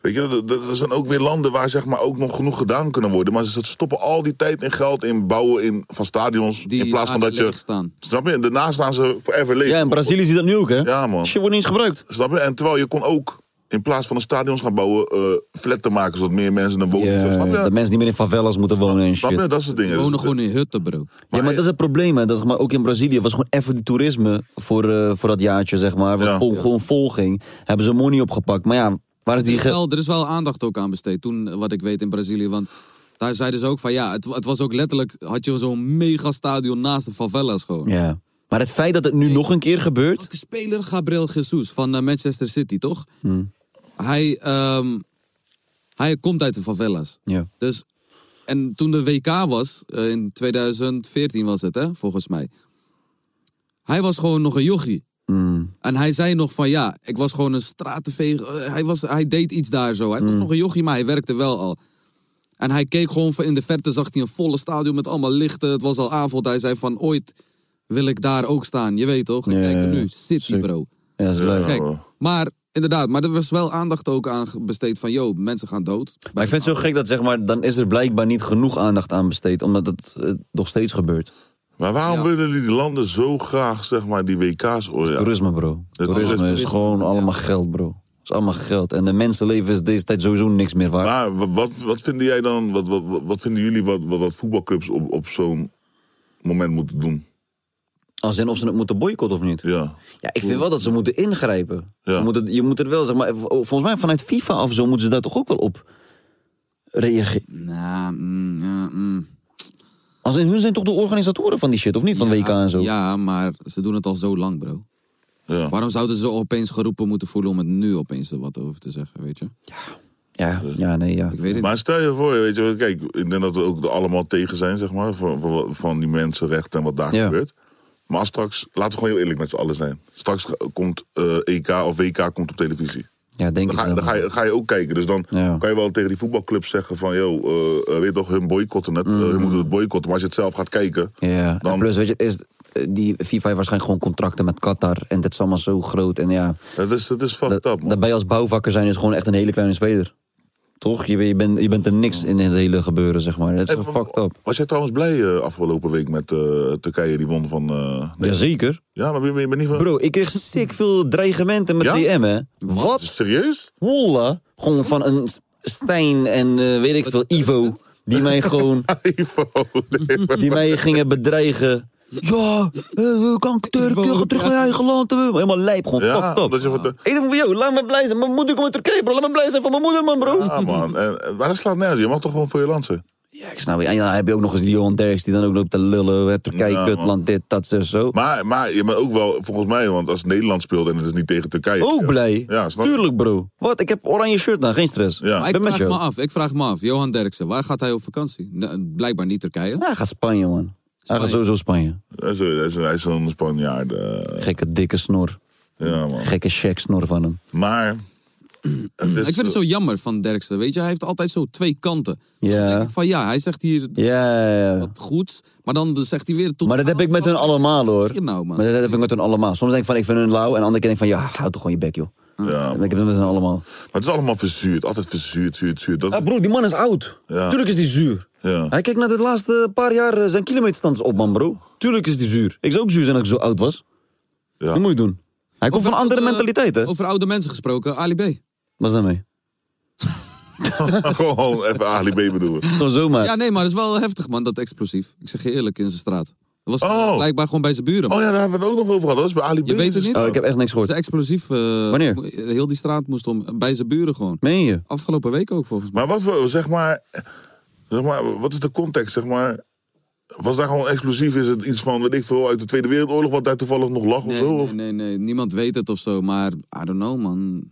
S10: Weet je, dat- dat- er zijn ook weer landen waar zeg maar ook nog genoeg gedaan kunnen worden. Maar ze stoppen al die tijd en geld in bouwen in, van stadions.
S5: die
S10: in plaats van dat je.
S5: leeg staan.
S10: Snap je? En daarna staan ze forever leeg.
S11: Ja, in Brazilië zie je dat nu ook, hè?
S10: Ja, man.
S11: Shit wordt niet eens gebruikt.
S10: Snap je? En terwijl je kon ook in plaats van een stadion gaan bouwen, eh flat te maken zodat meer mensen een woning
S11: Ja,
S10: snap je?
S11: dat mensen niet meer in favelas moeten wonen en
S10: Snap
S11: shit.
S10: je? Dat soort dingen. Dus-
S5: in hutten, bro.
S11: ja, maar dat is het probleem. Hè. Dat is, maar ook in Brazilië was gewoon even die toerisme voor, eh, voor dat jaartje, zeg maar. Was gewoon, gewoon vol ging. Hebben ze money opgepakt. Maar ja, waar is die
S5: er, is
S11: geld?
S5: wel, er is wel aandacht ook aan besteed toen, eh, wat ik weet in Brazilië. Want daar zeiden ze ook van ja, het, het was ook letterlijk, had je zo'n megastadion naast de favelas gewoon.
S11: Ja. Maar het feit dat het nu nog een keer gebeurt.
S5: Welke speler Gabriel Jesus van eh, Manchester City, toch?
S11: Hmm.
S5: Hij, ehm, hij komt uit de favelas.
S11: Ja.
S5: Dus, en toen de WK was, eh, in 2014 was het, hè, volgens mij. Hij was gewoon nog een jochie.
S11: Hmm.
S5: En hij zei nog van ja, ik was gewoon een stratenveeg. eh, hij, was, hij deed iets daar zo.
S11: Hmm.
S5: Hij was nog een jochie, maar hij werkte wel al. En hij keek gewoon van in de verte, zag hij een volle stadion met allemaal lichten. Het was al avond. Hij zei van ooit wil ik daar ook staan. Je weet toch? En
S11: Ja,
S5: kijk er
S11: ja, ja.
S5: nu, City bro.
S11: Ja, dat is leuk.
S5: Gek. Maar inderdaad, maar er was wel aandacht ook aan ge- besteed van joh, mensen gaan dood.
S11: Maar ik vind het zo gek dat zeg maar, dan is er blijkbaar niet genoeg aandacht aan besteed. Omdat het eh, nog steeds gebeurt.
S10: Maar waarom willen die landen zo graag zeg maar, die WK's organiseren?
S11: Toerisme, bro. Toerisme is gewoon allemaal geld, bro. Het is allemaal geld. En de mensenleven is deze tijd sowieso niks meer waard.
S10: Maar wa- wat, wat vinden jij dan, wat, wat, wat- wat vinden jullie wat, wat, wat voetbalclubs op, op zo'n moment moeten doen?
S11: Als in of ze het moeten boycotten of niet?
S10: Ja.
S11: Ja, ik vind wel dat ze moeten ingrijpen. Ze moeten, je moet het wel, zeg maar, v- volgens mij vanuit FIFA of zo moeten ze daar toch ook wel op reageren.
S5: Nou, mm, ja, mm.
S11: Als in hun zijn toch de organisatoren van die shit, of niet? Van WK en zo.
S5: Ja, maar ze doen het al zo lang, bro. Waarom zouden ze opeens geroepen moeten voelen om het nu opeens er wat over te zeggen, weet je?
S11: Ja, ja nee, ja.
S5: Ik weet het
S10: Maar stel je voor, weet je, wel, kijk, ik denk dat we ook er allemaal tegen zijn, zeg maar, van, van, van die mensenrechten en wat daar
S11: Ja.
S10: gebeurt. Maar als straks, laten we gewoon heel eerlijk met z'n allen zijn. Straks ge- komt eh, EK of WK komt op televisie.
S11: Ja, denk
S10: dan ga, dan ga, je, ga je ook kijken. Dus dan kan je wel tegen die voetbalclubs zeggen van... Yo, eh, eh, weet je toch, hun boycotten het. eh, hun moeten het boycotten. Maar als je het zelf gaat kijken...
S11: Ja, en plus weet je, is, eh, die FIFA heeft waarschijnlijk gewoon contracten met Qatar. En dat is allemaal zo groot. En ja,
S10: dat is, dat is
S11: fucked up, Daarbij als bouwvakker zijn is gewoon echt een hele kleine speler. Toch? Je, je, bent, je bent er niks in het hele gebeuren, zeg maar. Dat is
S10: Hey,
S11: gewoon fucked up.
S10: Was jij trouwens blij eh, afgelopen week met eh, Turkije die won van... eh
S11: Jazeker.
S10: Ja, maar je bent niet van...
S11: Bro, ik kreeg sick veel dreigementen met
S10: Ja?
S11: DM, hè. Wat?
S10: Serieus?
S11: Holla. Gewoon van een Stijn en eh, weet ik veel, Ivo. Die mij gewoon...
S10: Ivo.
S11: die mij gingen bedreigen. Ja, eh, kan ik Turk, je gaat terug naar je eigen land. eh, Helemaal lijp, gewoon
S10: Ja,
S11: fucked up.
S10: omdat je van de-
S11: Ik denk, yo, laat me blij zijn. Mijn moeder komt uit Turkije, bro. Laat me blij zijn van mijn moeder, man, bro.
S10: Ja, man. En, en- maar dat slaat nergens. Je mag toch gewoon voor je land zijn?
S11: Ik snap je. En dan heb je ook nog eens die Johan Derks die dan ook loopt te lullen. hè, Turkije,
S10: Ja, man.
S11: kutland, dit, dat, zo, zo.
S10: Maar, maar je bent ook wel, volgens mij, want als Nederland speelt en het is niet tegen Turkije...
S11: Ook blij.
S10: Ja, snap je?
S11: Tuurlijk, bro. Wat? Ik heb oranje shirt aan, geen stress.
S5: Maar
S11: Ik
S5: ik
S11: ben met
S5: vraag me
S11: jou.
S5: af, ik vraag me af. Johan Derksen, waar gaat hij op vakantie? Nou, blijkbaar niet Turkije.
S11: Hij gaat Spanje, man. Hij gaat sowieso Spanje.
S10: Hij is- hij is- hij is een Spanjaard. eh.
S11: Gekke dikke snor.
S10: Ja, man.
S11: Gekke check snor van hem.
S10: Maar...
S5: ik
S11: dus,
S5: vind het zo jammer van Derksen, weet je? Hij heeft altijd zo twee kanten.
S11: eh, Ja.
S5: Van ja, hij zegt hier
S11: Ja, ja, ja.
S5: wat goed, maar dan zegt hij weer... Tot
S11: Maar dat heb ik met hun allemaal hoor.
S5: nou, man?
S11: Maar dat heb ik met hun allemaal. Soms denk ik van ik vind hun lauw. En andere keer denk ik van ja, houd toch gewoon je bek joh.
S10: Ja,
S11: Ik heb dat met hun allemaal.
S10: Maar het is allemaal verzuurd. Altijd verzuurd, zuurd, zuurd. Dat...
S11: Ah, bro, die man is oud.
S10: Ja.
S11: Tuurlijk is die zuur.
S10: Ja.
S11: Hij kijkt naar de laatste paar jaar eh, zijn kilometerstand is op man bro. Tuurlijk is die zuur. Ik zou ook zuur zijn als ik zo oud was.
S10: Ja.
S11: Dat moet je doen. Hij komt van een andere mentaliteit hè.
S5: Over oude mensen gesproken, Ali B.
S11: Wat is daarmee?
S10: Gewoon even Ali B bedoelen.
S11: Gewoon zomaar.
S5: Ja, nee, maar dat is wel heftig, man, dat explosief. Ik zeg je eerlijk, in zijn straat. Dat was blijkbaar gewoon bij zijn buren. man.
S10: Oh ja, daar hebben we het ook nog over gehad. Dat is bij Ali B. dus-
S5: Je weet het niet?
S11: Oh, ik heb echt niks gehoord.
S5: Ze explosief. eh,
S11: Wanneer?
S5: mo- Heel die straat moest om. Bij zijn buren gewoon.
S11: Meen je?
S5: Afgelopen week ook volgens mij.
S10: Maar wat voor, zeg maar, zeg maar, wat is de context, zeg maar? Was daar gewoon explosief? Is het iets van, weet ik veel, uit de Tweede Wereldoorlog, wat daar toevallig nog lag of
S5: Nee,
S10: zo?
S5: nee,
S10: Of?
S5: nee, nee, niemand weet het of zo. Maar I don't know, man.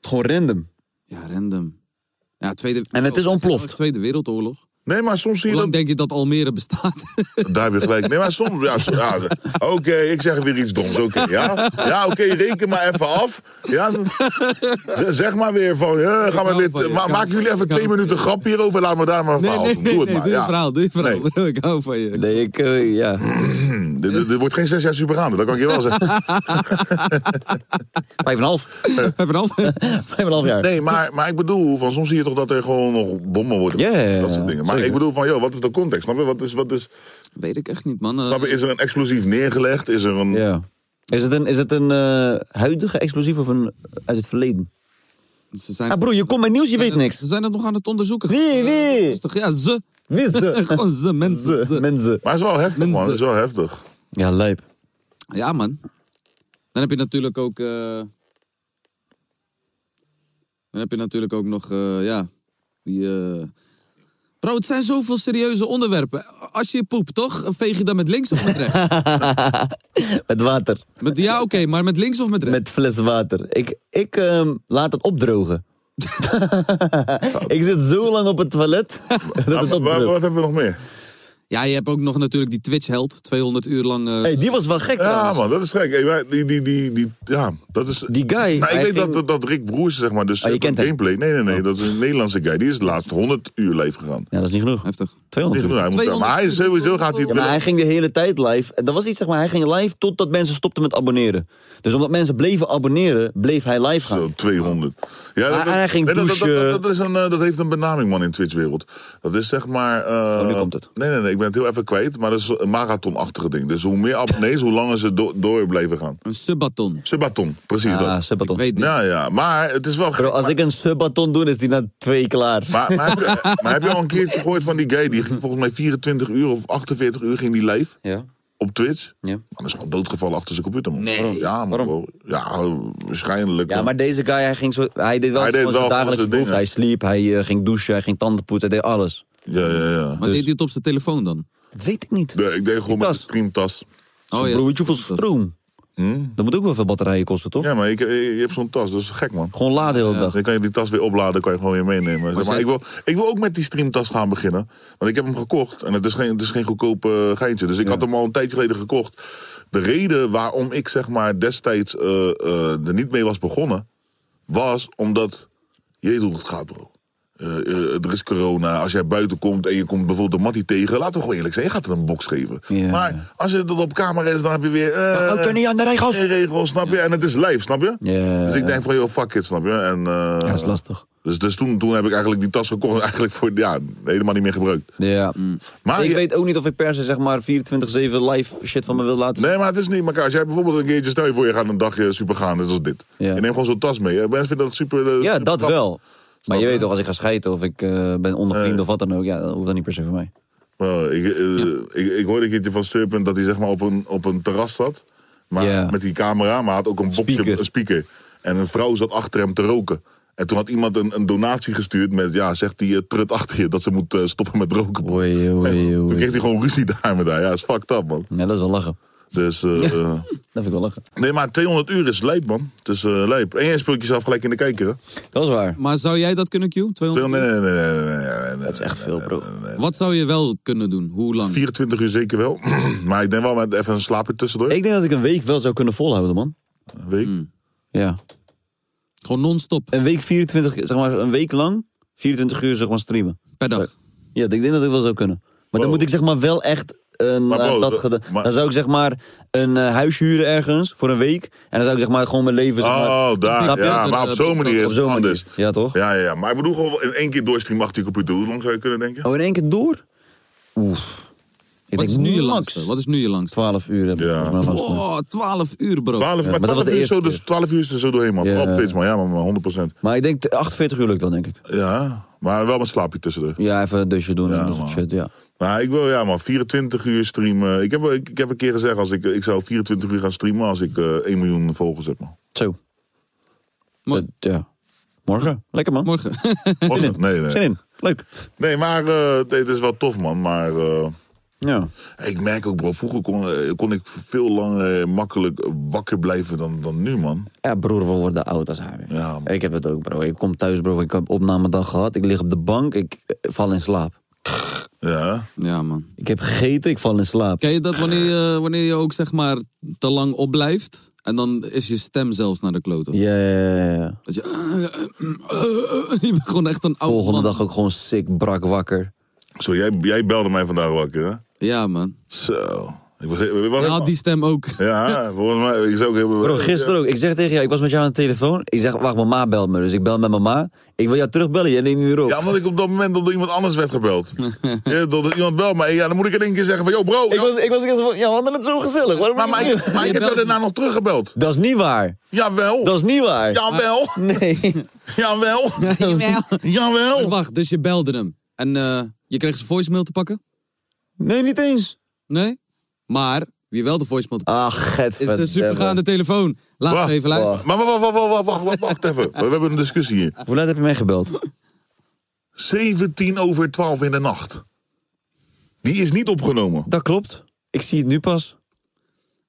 S11: Gewoon random.
S5: Ja, random. Ja, tweede,
S11: En het is ontploft.
S5: Tweede Wereldoorlog.
S10: Nee, maar soms zie
S5: Hoe
S10: je
S5: lang
S10: dat...
S5: denk je dat Almere bestaat?
S10: Daar heb je gelijk. Nee, maar soms... Ja, so- ja, oké, ik zeg weer iets doms. Oké, ja? Ja, oké, reken maar even af. Ja, z- zeg maar weer van... Ja, gaan we dit, ma maken jullie even twee minuten grap hierover... en laat me daar maar een verhaal van. Doe het maar.
S5: doe je
S10: ja.
S5: verhaal, doe je verhaal. bro, ik hou van je.
S11: Nee, ik, eh, ja.
S10: Dit- dit- dit wordt geen zes jaar supergaande, dat kan ik je wel zeggen.
S11: Vijf en een half.
S5: Vijf en een half.
S11: Vijf en een half jaar.
S10: Nee, maar, maar ik bedoel, van soms zie je toch dat er gewoon nog bommen worden.
S11: Ja, ja, ja,
S10: dat soort dingen. Maar
S11: zeker.
S10: ik bedoel van, joh, wat is de context? Snap je? Wat is, wat is,
S5: Weet ik echt niet, man. Eh,
S10: snap je? Is er een explosief neergelegd? Is er een...
S11: Ja. Is het een, is het een eh, huidige explosief of een uit het verleden?
S5: Ze zijn...
S11: Ah, broer, je komt met nieuws, je weet niks.
S5: We zijn dat nog aan het onderzoeken.
S11: Wie, wie?
S5: Rustig, ja, ze.
S11: Wie ze?
S5: Gewoon ze, mensen. Ze.
S11: Mensen.
S10: Maar het is wel heftig, man. Het is wel heftig.
S11: Ja, lijp.
S5: Ja, man. Dan heb je natuurlijk ook... eh, Dan heb je natuurlijk ook nog, eh, ja... Die, eh, Bro, het zijn zoveel serieuze onderwerpen. Als je poept, toch? Veeg je dan met links of met rechts?
S11: met water.
S5: Met, ja, oké, maar met links of met rechts?
S11: Met fles water. Ik, ik ehm, laat het opdrogen. ik zit zo lang op het toilet.
S10: Ah,
S11: dat het opdroogt.
S10: hebben we nog meer?
S5: Ja, je hebt ook nog natuurlijk die Twitch-held. 200 uur lang... eh,
S11: die was wel gek
S10: Ja,
S11: trouwens.
S10: man, dat is gek. Hey, maar die, die, die, die, ja, dat is...
S11: Die guy,
S10: Nou, ik
S11: hij
S10: weet
S11: ging-
S10: dat, dat Rick Broers, zeg maar, dus
S11: Ah, je kent hem. Oh.
S10: gameplay... Nee, nee, nee, dat is een Nederlandse guy. Die is de laatste 100 uur live gegaan.
S11: Ja, dat is niet genoeg.
S5: Heftig.
S11: 200 Oh, uur.
S10: Hij moet- maar hij is sowieso gaat hij...
S11: Ja, maar hij ging de hele tijd live. En Dat was iets, zeg maar, hij ging live totdat mensen stopten met abonneren. Dus omdat mensen bleven abonneren, bleef hij live gaan.
S10: Zo, 200. Ja,
S11: Maar hij ging
S10: nee, dat, dat,
S11: douchen.
S10: dat- dat is een, eh, dat heeft een benaming, man, in Twitch-wereld. Dat is zeg maar... eh,
S11: Oh, nu komt het.
S10: Nee, nee, nee, ik ben het heel even kwijt. Maar dat is een marathonachtige ding. Dus hoe meer abonnees, hoe langer ze do- door blijven gaan.
S5: Een subbaton.
S10: Subaton, precies dat.
S11: Ja, subbaton.
S5: Weet niet.
S10: Ja, ja, maar het is wel gek.
S11: Bro, als Ah, ik een subbaton doe, is die na twee klaar.
S10: Maar, maar, heb je, maar heb je al een keertje gehoord van die guy? Die ging volgens mij 24 uur of 48 uur ging die live
S11: Ja.
S10: op Twitch.
S11: Ja.
S10: Maar dat is gewoon doodgevallen achter zijn computer, man.
S5: Nee.
S10: Ja, man. bro. Ja, waarschijnlijk.
S11: Ja,
S10: man.
S11: maar deze guy, hij, ging zo, hij deed wel
S10: Hij deed
S11: gewoon zijn
S10: wel
S11: dagelijkse
S10: gewoon
S11: behoefte.
S10: zijn
S11: Hij sliep, hij eh, ging douchen, hij ging tanden poetsen, hij deed alles.
S10: Ja, ja, ja.
S11: Dus-
S5: Maar deed hij het op zijn telefoon dan?
S11: Dat weet ik niet.
S10: Nee, ik deed gewoon met een
S11: tas.
S10: streamtas.
S5: Oh ja.
S11: Bro, weet je hoeveel stroom?
S10: Hm?
S11: Dat moet ook wel veel batterijen kosten, toch?
S10: Ja, maar ik, je hebt zo'n tas, dat is gek, man.
S11: Gewoon laden de hele dag.
S10: Dan kan je die tas weer opladen, kan je gewoon weer meenemen. Zeg Maar
S5: zij-
S10: ik, wil, ik wil ook met die streamtas gaan beginnen. Want ik heb hem gekocht en het is geen, het is geen goedkoop eh, geintje. Dus ik had hem al een tijdje geleden gekocht. De reden waarom ik zeg maar destijds eh, eh, er niet mee was begonnen, was omdat. Je weet hoe het gaat, bro. Eh, eh, er is corona. Als jij buiten komt en je komt bijvoorbeeld de mattie tegen, laten we gewoon eerlijk zijn, je gaat er een box geven.
S11: Ja.
S10: Maar als je dat op camera is, dan heb je weer. eh,
S11: houdt er niet Oh, aan de regels.
S10: geen regels, snap je? En het is live, snap je?
S11: Ja.
S10: Dus ik denk van, joh, fuck it, snap je? En, eh,
S11: Ja, dat is lastig.
S10: dus dus toen, toen heb ik eigenlijk die tas gekocht en eigenlijk voor, ja, helemaal niet meer gebruikt.
S11: Ja.
S10: Maar
S11: Hmm. ik
S10: je-
S11: weet ook niet of ik per se zeg maar 24-7 live shit van me wil laten zien.
S10: Nee, maar het is niet elkaar. Als jij bijvoorbeeld een keertje, stel je voor, je gaat een dagje super gaan, net als dit.
S11: Ja.
S10: Je neemt gewoon zo'n tas mee. hè. Mensen vinden dat super... eh,
S11: Ja,
S10: super
S11: dat
S10: knap.
S11: wel. Maar je
S10: je?
S11: weet toch, als ik ga scheiden of ik eh, ben onder vrienden
S10: Nee.
S11: of wat dan ook, ja, dat hoeft dat niet per se voor mij.
S10: Nou, ik, eh, ik, ik hoorde een keertje van Serpent dat hij zeg maar op een, op een terras zat. Maar
S11: Ja.
S10: met die camera, maar had ook een boxje,
S11: Speaker.
S10: een speaker. En een vrouw zat achter hem te roken. En toen had iemand een, een donatie gestuurd met, ja, zegt die eh, trut achter je dat ze moet eh, stoppen met roken.
S11: Oei, oei,
S10: Toen
S11: oei.
S10: kreeg hij gewoon ruzie daar met haar. Ja, is fucked up, man.
S11: Ja, dat is wel lachen.
S10: Dus, eh, eh,
S11: Dat vind ik wel lachen.
S10: nee, maar 200 uur is lijp, man. Het is eh, lijp. En jij speelt jezelf gelijk in de kijker, hè?
S11: Dat is waar.
S5: Maar zou jij dat kunnen, Q? 200
S10: Nee, nee, nee, nee, nee, nee, nee, nee.
S11: Dat is echt veel, bro.
S5: Wat zou je wel kunnen doen? Hoe lang?
S10: 24 uur zeker wel. maar ik denk wel met even een slaapje tussendoor.
S11: Ik denk dat ik een week wel zou kunnen volhouden, man.
S10: Een week.
S11: Ja.
S5: Gewoon non-stop
S11: Een week 24, zeg maar een week lang, 24 uur zeg maar streamen.
S5: per dag.
S11: Ja, ik denk dat ik wel zou kunnen. Maar dan
S10: Wow.
S11: moet ik zeg maar wel echt een...
S10: Maar
S11: eh,
S10: bro,
S11: dat
S10: dat-
S11: geda-
S10: maar-
S11: dan zou ik zeg maar een eh, huis huren ergens voor een week. En dan zou Dus ik zeg maar gewoon mijn leven... Zeg maar,
S10: Oh, daar.
S11: Snap je? Dus, eh,
S10: Ja, maar op zo'n manier
S11: op
S10: is het
S11: zo'n manier.
S10: anders.
S11: Ja, toch?
S10: Ja, ja, ja. Maar ik bedoel gewoon in één keer doorstreamen achter je computer. Hoe lang zou je kunnen denken?
S11: Oh, in één keer door? Oef. Ik
S5: Wat is
S11: denk
S5: nu je
S11: max
S5: langste? Wat is nu je langste?
S11: 12 uur heb ik
S10: Ja.
S11: volgens mij langs gedaan.
S5: Oh, 12 uur, bro.
S10: 12, maar
S11: maar dat
S10: 12
S11: was de
S10: uur, is zo,
S11: eerste
S10: dus 12 uur is er zo doorheen, man.
S11: Ja.
S10: Vooral op Twitch, man. Ja, man, man, 100
S11: Maar ik denk 48 uur lukt dan, denk ik.
S10: Ja, maar wel met slaapje tussendoor.
S11: Ja, even een dusje doen
S10: Ja,
S11: en dat soort
S10: man.
S11: shit, ja.
S10: Maar ik wil, ja, man, 24 uur streamen. Ik heb, ik, ik heb een keer gezegd, als ik, ik zou 24 uur gaan streamen als ik eh 1 miljoen volgers heb, man.
S11: Zo.
S5: Mooi.
S11: Dat, ja. Morgen. Lekker, man.
S5: Morgen.
S10: Was het? Nee,
S11: Zin
S10: nee.
S11: in. Leuk.
S10: Nee, maar eh nee, het is wel tof, man. Maar... eh,
S11: Ja.
S10: Ik merk ook, bro, vroeger kon, eh, kon ik veel langer eh, makkelijk wakker blijven dan, dan nu, man.
S11: Ja, broer, we worden oud als haar.
S10: Ja, man.
S11: Ik heb het ook, bro. Ik kom thuis, bro. Ik heb opnamedag gehad. Ik lig op de bank. Ik eh, val in slaap.
S10: Ja.
S5: Ja, man.
S11: Ik heb gegeten. Ik val in slaap.
S5: Ken je dat wanneer je, wanneer je ook zeg maar te lang opblijft? En dan is je stem zelfs naar de kloten.
S11: Ja, ja, ja, ja.
S5: Dat je, je bent gewoon echt een oude
S11: Volgende
S5: man.
S11: dag ook gewoon sick, brak, wakker.
S10: Zo, jij, jij belde mij vandaag wakker, hè?
S5: Ja, man.
S10: Zo. Ik was, ik was helemaal-
S5: die stem ook.
S10: Ja, volgens mij. Ik zou ook helemaal...
S11: Bro, gisteren ook. Ik zeg tegen jou, ik was met jou aan de telefoon. Ik zeg, wacht, mama belt me. Dus ik bel met mama. Ik wil jou terugbellen, jij neemt niet meer op.
S10: Ja, omdat ik op dat moment omdat iemand anders werd gebeld. ja, dat er iemand belt mij. Ja, dan moet ik in één keer zeggen van, yo bro. Ik
S11: was, ik was eerst van, ja, we hadden het zo gezellig. Waarom
S10: maar, maar, ik, maar ik heb jou daarna nog teruggebeld.
S11: Dat is niet waar.
S10: Jawel.
S11: Dat is niet waar.
S10: Jawel.
S11: Nee.
S10: Jawel.
S5: Jawel.
S10: Jawel.
S5: Wacht, dus je belde hem. En eh, je kreeg zijn voicemail te pakken?
S11: Nee, niet eens. Ah,
S5: Nee? Maar wie wel de voicemail te
S11: pakken Ach, het
S5: is de supergaande telefoon. Laat
S10: Wacht,
S5: me even luisteren.
S10: Maar wacht, wacht, wacht, wacht, wacht, wacht, wacht even. We hebben een discussie hier.
S11: Hoe laat heb je mij gebeld?
S10: 17 over 12 in de nacht. Die is niet opgenomen.
S11: Dat klopt. Ik zie het nu pas.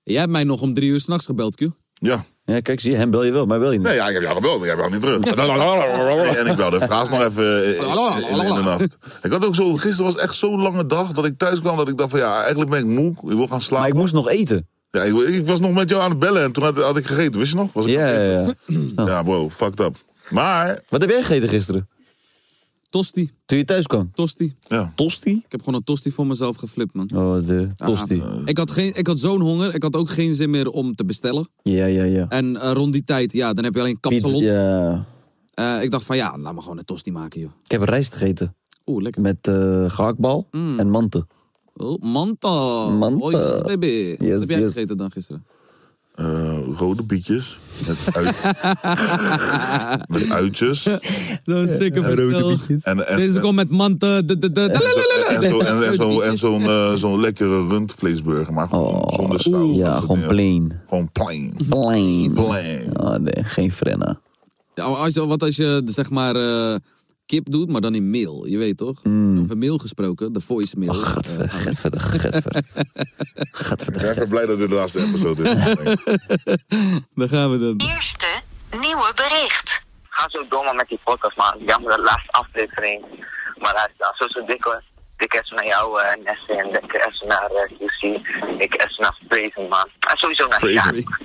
S5: Jij hebt mij nog om drie uur s'nachts gebeld, Q.
S10: Ja.
S11: Ja, kijk, zie je, hem bel je wel, maar bel je niet.
S10: Nee, ja, ik heb jou gebeld, maar jij belt niet terug. en ik belde Fraas nog even eh, in, in- in de nacht. Ik had ook zo, gisteren was echt zo'n lange dag dat ik thuis kwam dat ik dacht van ja, eigenlijk ben ik moe, ik wil gaan slapen. Maar ik
S11: moest nog eten.
S10: Ja, ik, ik was nog met jou aan het bellen en toen had, had ik gegeten, wist je nog? Was ik
S11: Ja, ja, ja.
S10: ja, bro, fucked up. Maar...
S11: Wat heb jij gegeten gisteren?
S5: Tosti.
S11: Toen je thuis kwam?
S5: Tosti.
S10: Ja.
S11: Tosti?
S5: Ik heb gewoon een tosti voor mezelf geflipt, man.
S11: Oh, de
S10: Ah,
S11: tosti.
S5: Ja, ik had, geen- ik had zo'n honger, ik had ook geen zin meer om te bestellen.
S11: Ja, ja, ja.
S5: En eh, rond die tijd, ja, dan heb je alleen kapsalon.
S11: Ja.
S5: Eh, ik dacht van ja, laat me gewoon een tosti maken, joh.
S11: Ik heb rijst gegeten.
S5: Oeh, lekker. Mm.
S11: Met eh gehaktbal en mante.
S5: Oh, manta.
S11: Manta.
S5: Oh, yes, baby. Wat heb jij
S11: yes.
S5: gegeten dan gisteren?
S10: eh, rode bietjes. Met, uit, met uitjes.
S5: Zo'n stikke verschil.
S10: En, en,
S5: Deze komt met manta. de- de- de-
S10: en, zo, en, en, zo, en zo'n eh, zo'n lekkere rundvleesburger, maar gewoon zonder saus.
S11: Oh, Ja, gewoon plain.
S10: Gewoon plain.
S11: Plain.
S10: Plain.
S11: Oh, nee, geen frenna.
S5: Ja, maar als je, wat als je zeg maar eh, kip doet, maar dan in meel. Je weet toch?
S11: Mm.
S5: Over meel gesproken, de voice mail. Oh,
S11: gadver, gadver, gadver.
S10: Ik ben even blij dat dit de laatste episode is.
S5: Daar gaan we dan.
S3: Eerste nieuwe bericht.
S15: Ga zo door maar met die podcast, man. Jammer, de laatste aflevering. Maar hij is dan zo, zo dik hoor. Ik is naar jou, eh Nessie, en ik is naar eh, QC. Ik is naar Prazen, man. En sowieso naar
S11: Prazen.
S15: Jaak.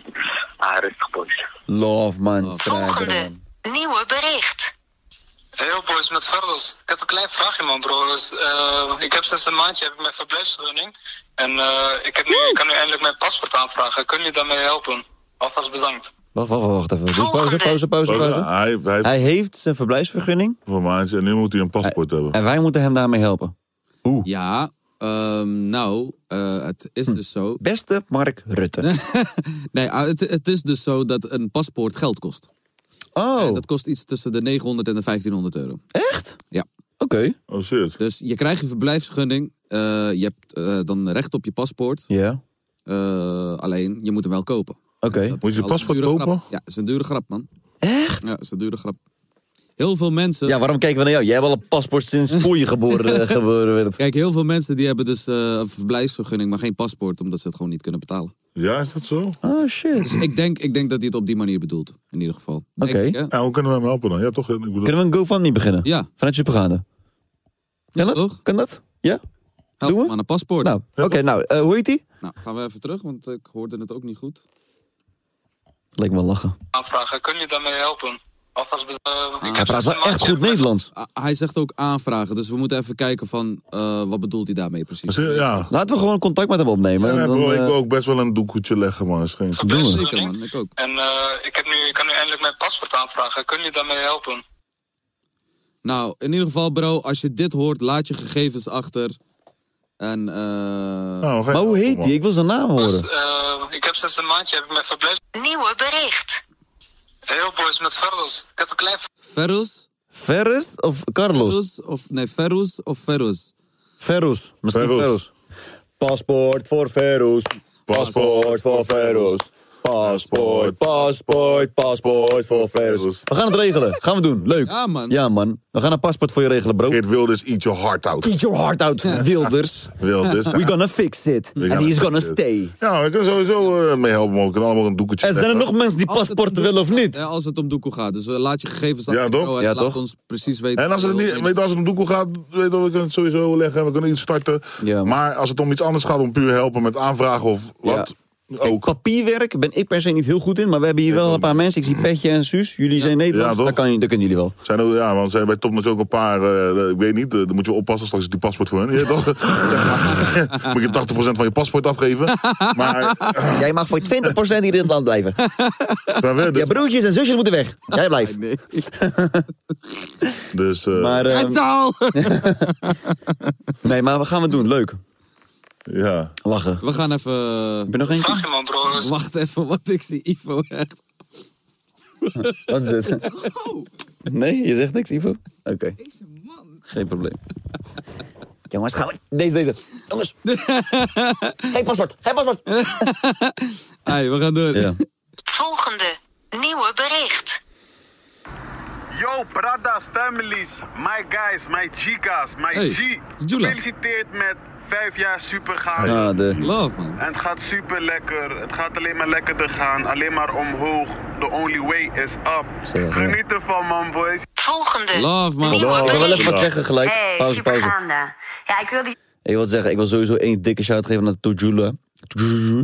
S15: Ah, rustig, boys.
S11: Love, man.
S5: Oh.
S3: Volgende.
S11: Strijder,
S3: Nieuwe bericht.
S16: Heel boys, met Ferdos. Ik heb een klein vraagje man bro. Dus, eh, ik heb sinds een maandje heb ik mijn verblijfsvergunning. En eh, ik, heb nu, ik kan nu eindelijk mijn paspoort aanvragen. Kun je daarmee helpen? Alvast bedankt.
S11: Wacht, wacht, wacht even. Dus pauze, pauze, pauze,
S10: Pauze.
S11: pauze.
S10: Hij, hij,
S11: Hij heeft zijn verblijfsvergunning
S10: voor maandje en nu moet hij een paspoort hebben.
S11: en wij moeten hem daarmee helpen.
S5: Ja, ehm, nou, eh, het
S11: Hm.
S5: is dus zo.
S11: Beste Mark Rutte.
S5: nee, ah, het, het is dus zo dat een paspoort geld kost.
S11: Oh.
S5: dat kost iets tussen de 900 en de 1500 euro.
S11: Echt?
S5: Ja.
S11: Oké.
S10: Oh shit.
S5: Dus je krijgt je verblijfsvergunning. eh, je hebt eh, dan recht op je paspoort.
S11: Ja.
S5: Eh, alleen, je moet hem wel kopen.
S11: Oké.
S5: Dat is
S10: Moet je
S5: wel
S10: paspoort
S5: een dure grap.
S10: kopen?
S5: Ja, dat is een dure grap, man.
S11: Echt?
S5: Ja, dat is een dure grap. Heel veel mensen...
S11: Ja, waarom kijken we naar jou? Jij hebt al een paspoort sinds voor je geboren, eh, geboren werd.
S5: Kijk, heel veel mensen die hebben dus eh, een verblijfsvergunning, maar geen paspoort, omdat ze het gewoon niet kunnen betalen.
S10: Ja, is dat zo?
S11: Oh shit.
S5: Dus ik denk, ik denk dat hij het op die manier bedoelt, in ieder geval. Denk ik, hè?
S10: Ja, hoe kunnen we hem helpen dan? Ja, toch? Ik bedoel...
S11: Kunnen we een GoFundMe beginnen?
S5: Ja.
S11: Vanuit Supergaande. Kan dat? Kan dat? Ja? Doen we?
S5: aan een paspoort.
S11: Nou, oké, nou, eh, hoe heet die?
S5: Nou, gaan we even terug, want ik hoorde het ook niet goed.
S11: Leek me lachen.
S16: Aanvragen, kun je daarmee helpen? Alvast bedankt. Ik heb sinds een maandje-
S11: Nederlands.
S5: Ah. Hij zegt ook aanvragen, dus we moeten even kijken van eh, wat bedoelt hij daarmee precies.
S10: Ja.
S11: Laten we gewoon contact met hem opnemen.
S10: Ja,
S11: en dan,
S10: bro, ik
S11: eh,
S10: wil ook best wel een doekoetje leggen, man. Is geen...
S16: Doen we.
S5: Zeker man, ik ook.
S16: En eh, ik, heb nu, ik kan nu eindelijk mijn paspoort aanvragen. Kun je daarmee helpen?
S5: Nou, in ieder geval bro, als je dit hoort, laat je gegevens achter. En, eh
S10: Nou, oh,
S11: maar hoe heet die? Ik wil zijn naam
S16: Dus,
S11: horen.
S16: eh, ik heb sinds een maandje heb ik mijn verblijfs...
S3: Nieuwe bericht.
S16: Heel boys, met Ferdos. Ik heb een klein...
S5: Ferrus?
S11: Ferris of Carlos?
S5: Ferrus of, nee, Ferrus of Ferrus?
S11: Ferrus. Misschien
S5: Ferrus.
S11: Ferrus. Paspoort voor Ferrus. Paspoort voor Ferrus. Paspoort, paspoort, paspoort voor Ferrus. We gaan het regelen. Gaan we doen. Leuk.
S5: Ja, man.
S11: Ja, man. We gaan een paspoort voor je regelen, bro.
S10: Geert Wilders, eat your heart out.
S11: Eat your heart out, Wilders.
S10: Wilders.
S11: We're gonna fix it.
S10: We
S11: And
S10: gaan
S11: he's
S10: het
S11: gonna
S10: doen.
S11: stay.
S10: Ja, we kunnen sowieso eh mee helpen, man. We kunnen allemaal een doekoetje
S11: Er zijn er
S10: leggen.
S11: nog mensen die
S5: Als het
S11: paspoorten
S5: om
S11: willen of niet.
S5: Ja, als het om doekoe gaat. Dus eh, laat je gegevens
S10: Ja,
S5: achter.
S10: toch?
S5: bro, en
S10: Ja,
S5: laat
S10: toch?
S5: ons precies weten.
S10: En als het, niet, weet, je, als het om doekoe gaat, weet je, we kunnen het sowieso leggen. We kunnen iets starten. Maar als het om iets anders gaat, om puur helpen met aanvragen of wat...
S11: Kijk, papierwerk ben ik per se niet heel goed in, maar we hebben hier wel een paar mensen. Ik zie Petje en Suus. Jullie zijn Nederlands.
S10: dat,
S11: kan, dat kunnen jullie wel.
S10: Zijn er, ja, want zijn bij Topnotch ook een paar, eh, ik weet niet, eh, dan moet je oppassen, straks is die paspoort voor hun. Je weet toch? moet je 80% van je paspoort afgeven. Maar, eh,
S11: Jij mag voor 20% hier in het land blijven. Je broertjes en zusjes moeten weg. Jij blijft.
S10: dus, eh,
S11: maar, ehm, nee, maar wat gaan we doen? Leuk.
S10: Ja.
S11: Lachen.
S5: We gaan even... Ik
S11: ben nog eentje?
S16: Vraag je man, bro.
S5: Wacht even, wat ik zie Ivo echt.
S11: Wat is dit? Nee, je zegt niks, Ivo? Oh. Oké. Geen probleem. Jongens, gaan we... Deze, deze. Jongens. Geen paswoord. Geen paswoord.
S5: Hey, we gaan door.
S3: Volgende. Nieuwe bericht.
S2: Yo, Pradas families, my guys, my chicas, my
S11: Hey,
S2: G.
S11: Jula.
S2: Gefeliciteerd met vijf jaar super gaan.
S11: Ja, Ah, de- Love,
S2: En het gaat super lekker. Het gaat alleen maar lekkerder gaan. Alleen maar omhoog. The only way is up.
S11: Zo, ja.
S2: Geniet ervan, man, boys.
S3: Volgende.
S11: Love, man. Love. Ik wil wel even wat zeggen gelijk.
S3: Hey,
S11: Pauze, pauze.
S3: supergaande. Ja, ik wil die...
S11: Ik wil zeggen, ik wil sowieso één dikke shout geven naar Tojula.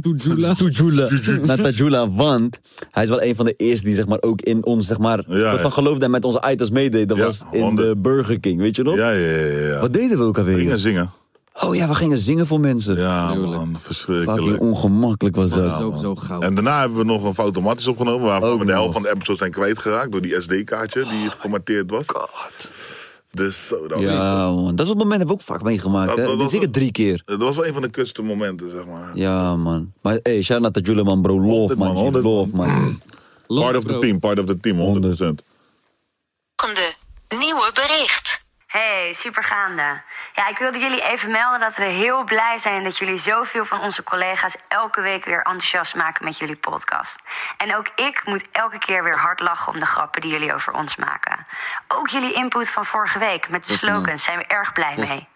S11: Tojula. Tojula. Naar Tojula, want hij is wel een van de eerste die zeg maar ook in ons zeg maar soort van
S10: ja.
S11: geloofde en met onze items meedeed. Dat was in de Burger King, weet je nog?
S10: Ja, ja, ja, ja.
S11: Wat deden we ook alweer?
S10: We gingen zingen.
S11: Oh ja, we gingen zingen voor mensen.
S10: Ja, man, verschrikkelijk.
S11: Fucking ongemakkelijk was dat.
S10: ook zo goud. En daarna hebben we nog een automatisch opgenomen... waarvan we de helft van de episode zijn kwijtgeraakt... door die SD-kaartje
S11: Oh
S10: die geformateerd was. Dus zo, dat was-
S11: Ja, man. Dat is op het moment heb ik ook vaak meegemaakt.
S10: Dat-
S11: Hè?
S10: dat- dat-
S11: Zeker drie keer.
S10: Dat was wel een van de kutste momenten, zeg maar.
S11: Ja, man. Maar hey, shout out to Julian, man, bro. Love, man. G. Love, man.
S10: Part of the team, part of the team, 100%.
S3: Volgende. Nieuwe bericht. Hey, supergaande. Ja, ik wilde jullie even melden dat we heel blij zijn dat jullie zoveel van onze collega's elke week weer enthousiast maken met jullie podcast. En ook ik moet elke keer weer hard lachen om de grappen die jullie over ons maken. Ook jullie input van vorige week met de
S6: Dat is mooi.
S3: slogans zijn we erg blij
S6: Dat is-
S3: mee.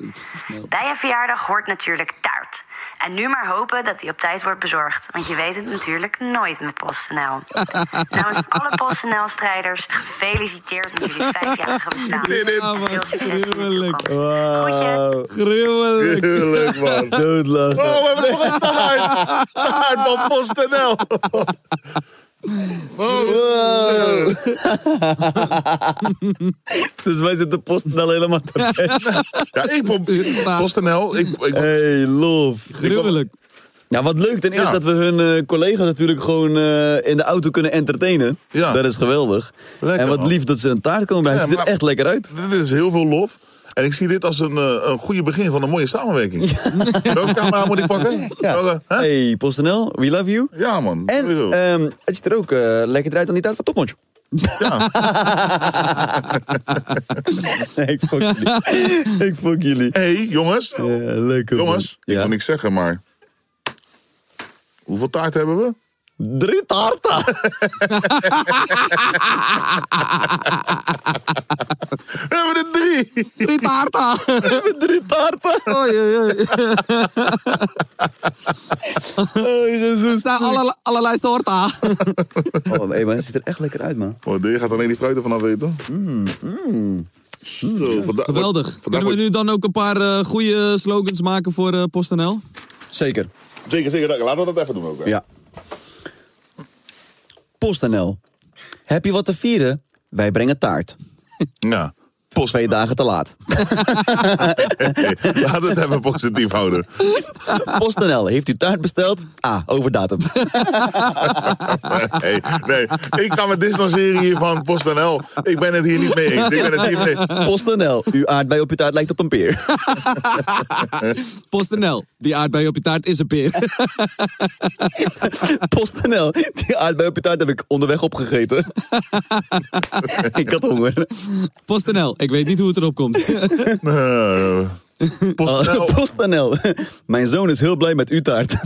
S3: Bij een verjaardag hoort natuurlijk taart. En nu maar hopen dat die op tijd wordt bezorgd. Want je weet het natuurlijk nooit met PostNL. Namens alle PostNL-strijders, gefeliciteerd met jullie vijfjarige bestaan. Veel succes.
S5: Gruwelijk.
S11: Wow.
S5: Gruwelijk.
S10: Gruwelijk, man.
S11: Doodlachen.
S10: Oh, we hebben nog een taart. Taart van PostNL. Wow.
S11: dus wij zitten PostNL helemaal te
S10: Ja, ik probeer... PostNL, ik... ik
S11: Hey, love.
S5: Gruwelijk.
S11: Ja, wat leuk. Ten eerste
S10: Ja.
S11: dat we hun eh, collega's natuurlijk gewoon eh, in de auto kunnen entertainen.
S10: Ja.
S11: Dat is geweldig. en wat
S10: man.
S11: lief dat ze een taart komen bij.
S10: Ja,
S11: Ze ziet er
S10: maar-
S11: echt lekker uit.
S10: Dit is heel veel lof. En ik zie dit als een, eh, een goede begin van een mooie samenwerking. Welke camera moet ik pakken? Welke? Hè?
S11: Hey, PostNL, we love you.
S10: Ja, man.
S11: En
S5: eh,
S11: ehm, het ziet er ook eh, lekker uit dan die taart van Topnotch. nee, ik fok jullie. ik fok jullie. Eh,
S10: Hé, hey, jongens.
S11: lekker.
S10: Jongens, ik wil niks zeggen, maar... Hoeveel taart hebben we?
S11: Drie taarten!
S10: we hebben er drie!
S5: Drie taarten!
S10: We hebben
S11: drie taarten!
S5: Oei, oei, oei.
S11: Oh, Jezus.
S5: Staan alle, allerlei soorten.
S11: Oh, hey, maar het ziet er echt lekker uit, man.
S10: Oh, je gaat alleen die fruit ervan af weten. Zo, vanda-
S5: Geweldig.
S10: Vandaag
S5: Kunnen we nu dan ook een paar eh, goede slogans maken voor eh, PostNL?
S11: Zeker.
S10: Zeker, zeker. Laten we dat even doen ook. hè.
S11: Ja. PostNL. Heb je wat te vieren? Wij brengen taart.
S10: Ja.
S11: Post twee dagen te laat.
S10: Laten we het even positief houden.
S11: PostNL, heeft u taart besteld? Ah, over datum.
S10: Nee, nee, ik ga me distancieren hier van PostNL. Ik ben het hier niet mee eens. Ik ben het hier mee
S11: PostNL, uw aardbei op je taart lijkt op een peer.
S5: PostNL, die aardbei op je taart is een peer.
S11: PostNL, die aardbei op je taart heb ik onderweg opgegeten. ik had honger.
S5: PostNL, ik weet niet hoe het erop komt.
S11: Oh.
S10: PostNL.
S5: Nou.
S11: PostNL, mijn zoon is heel blij met uw taart.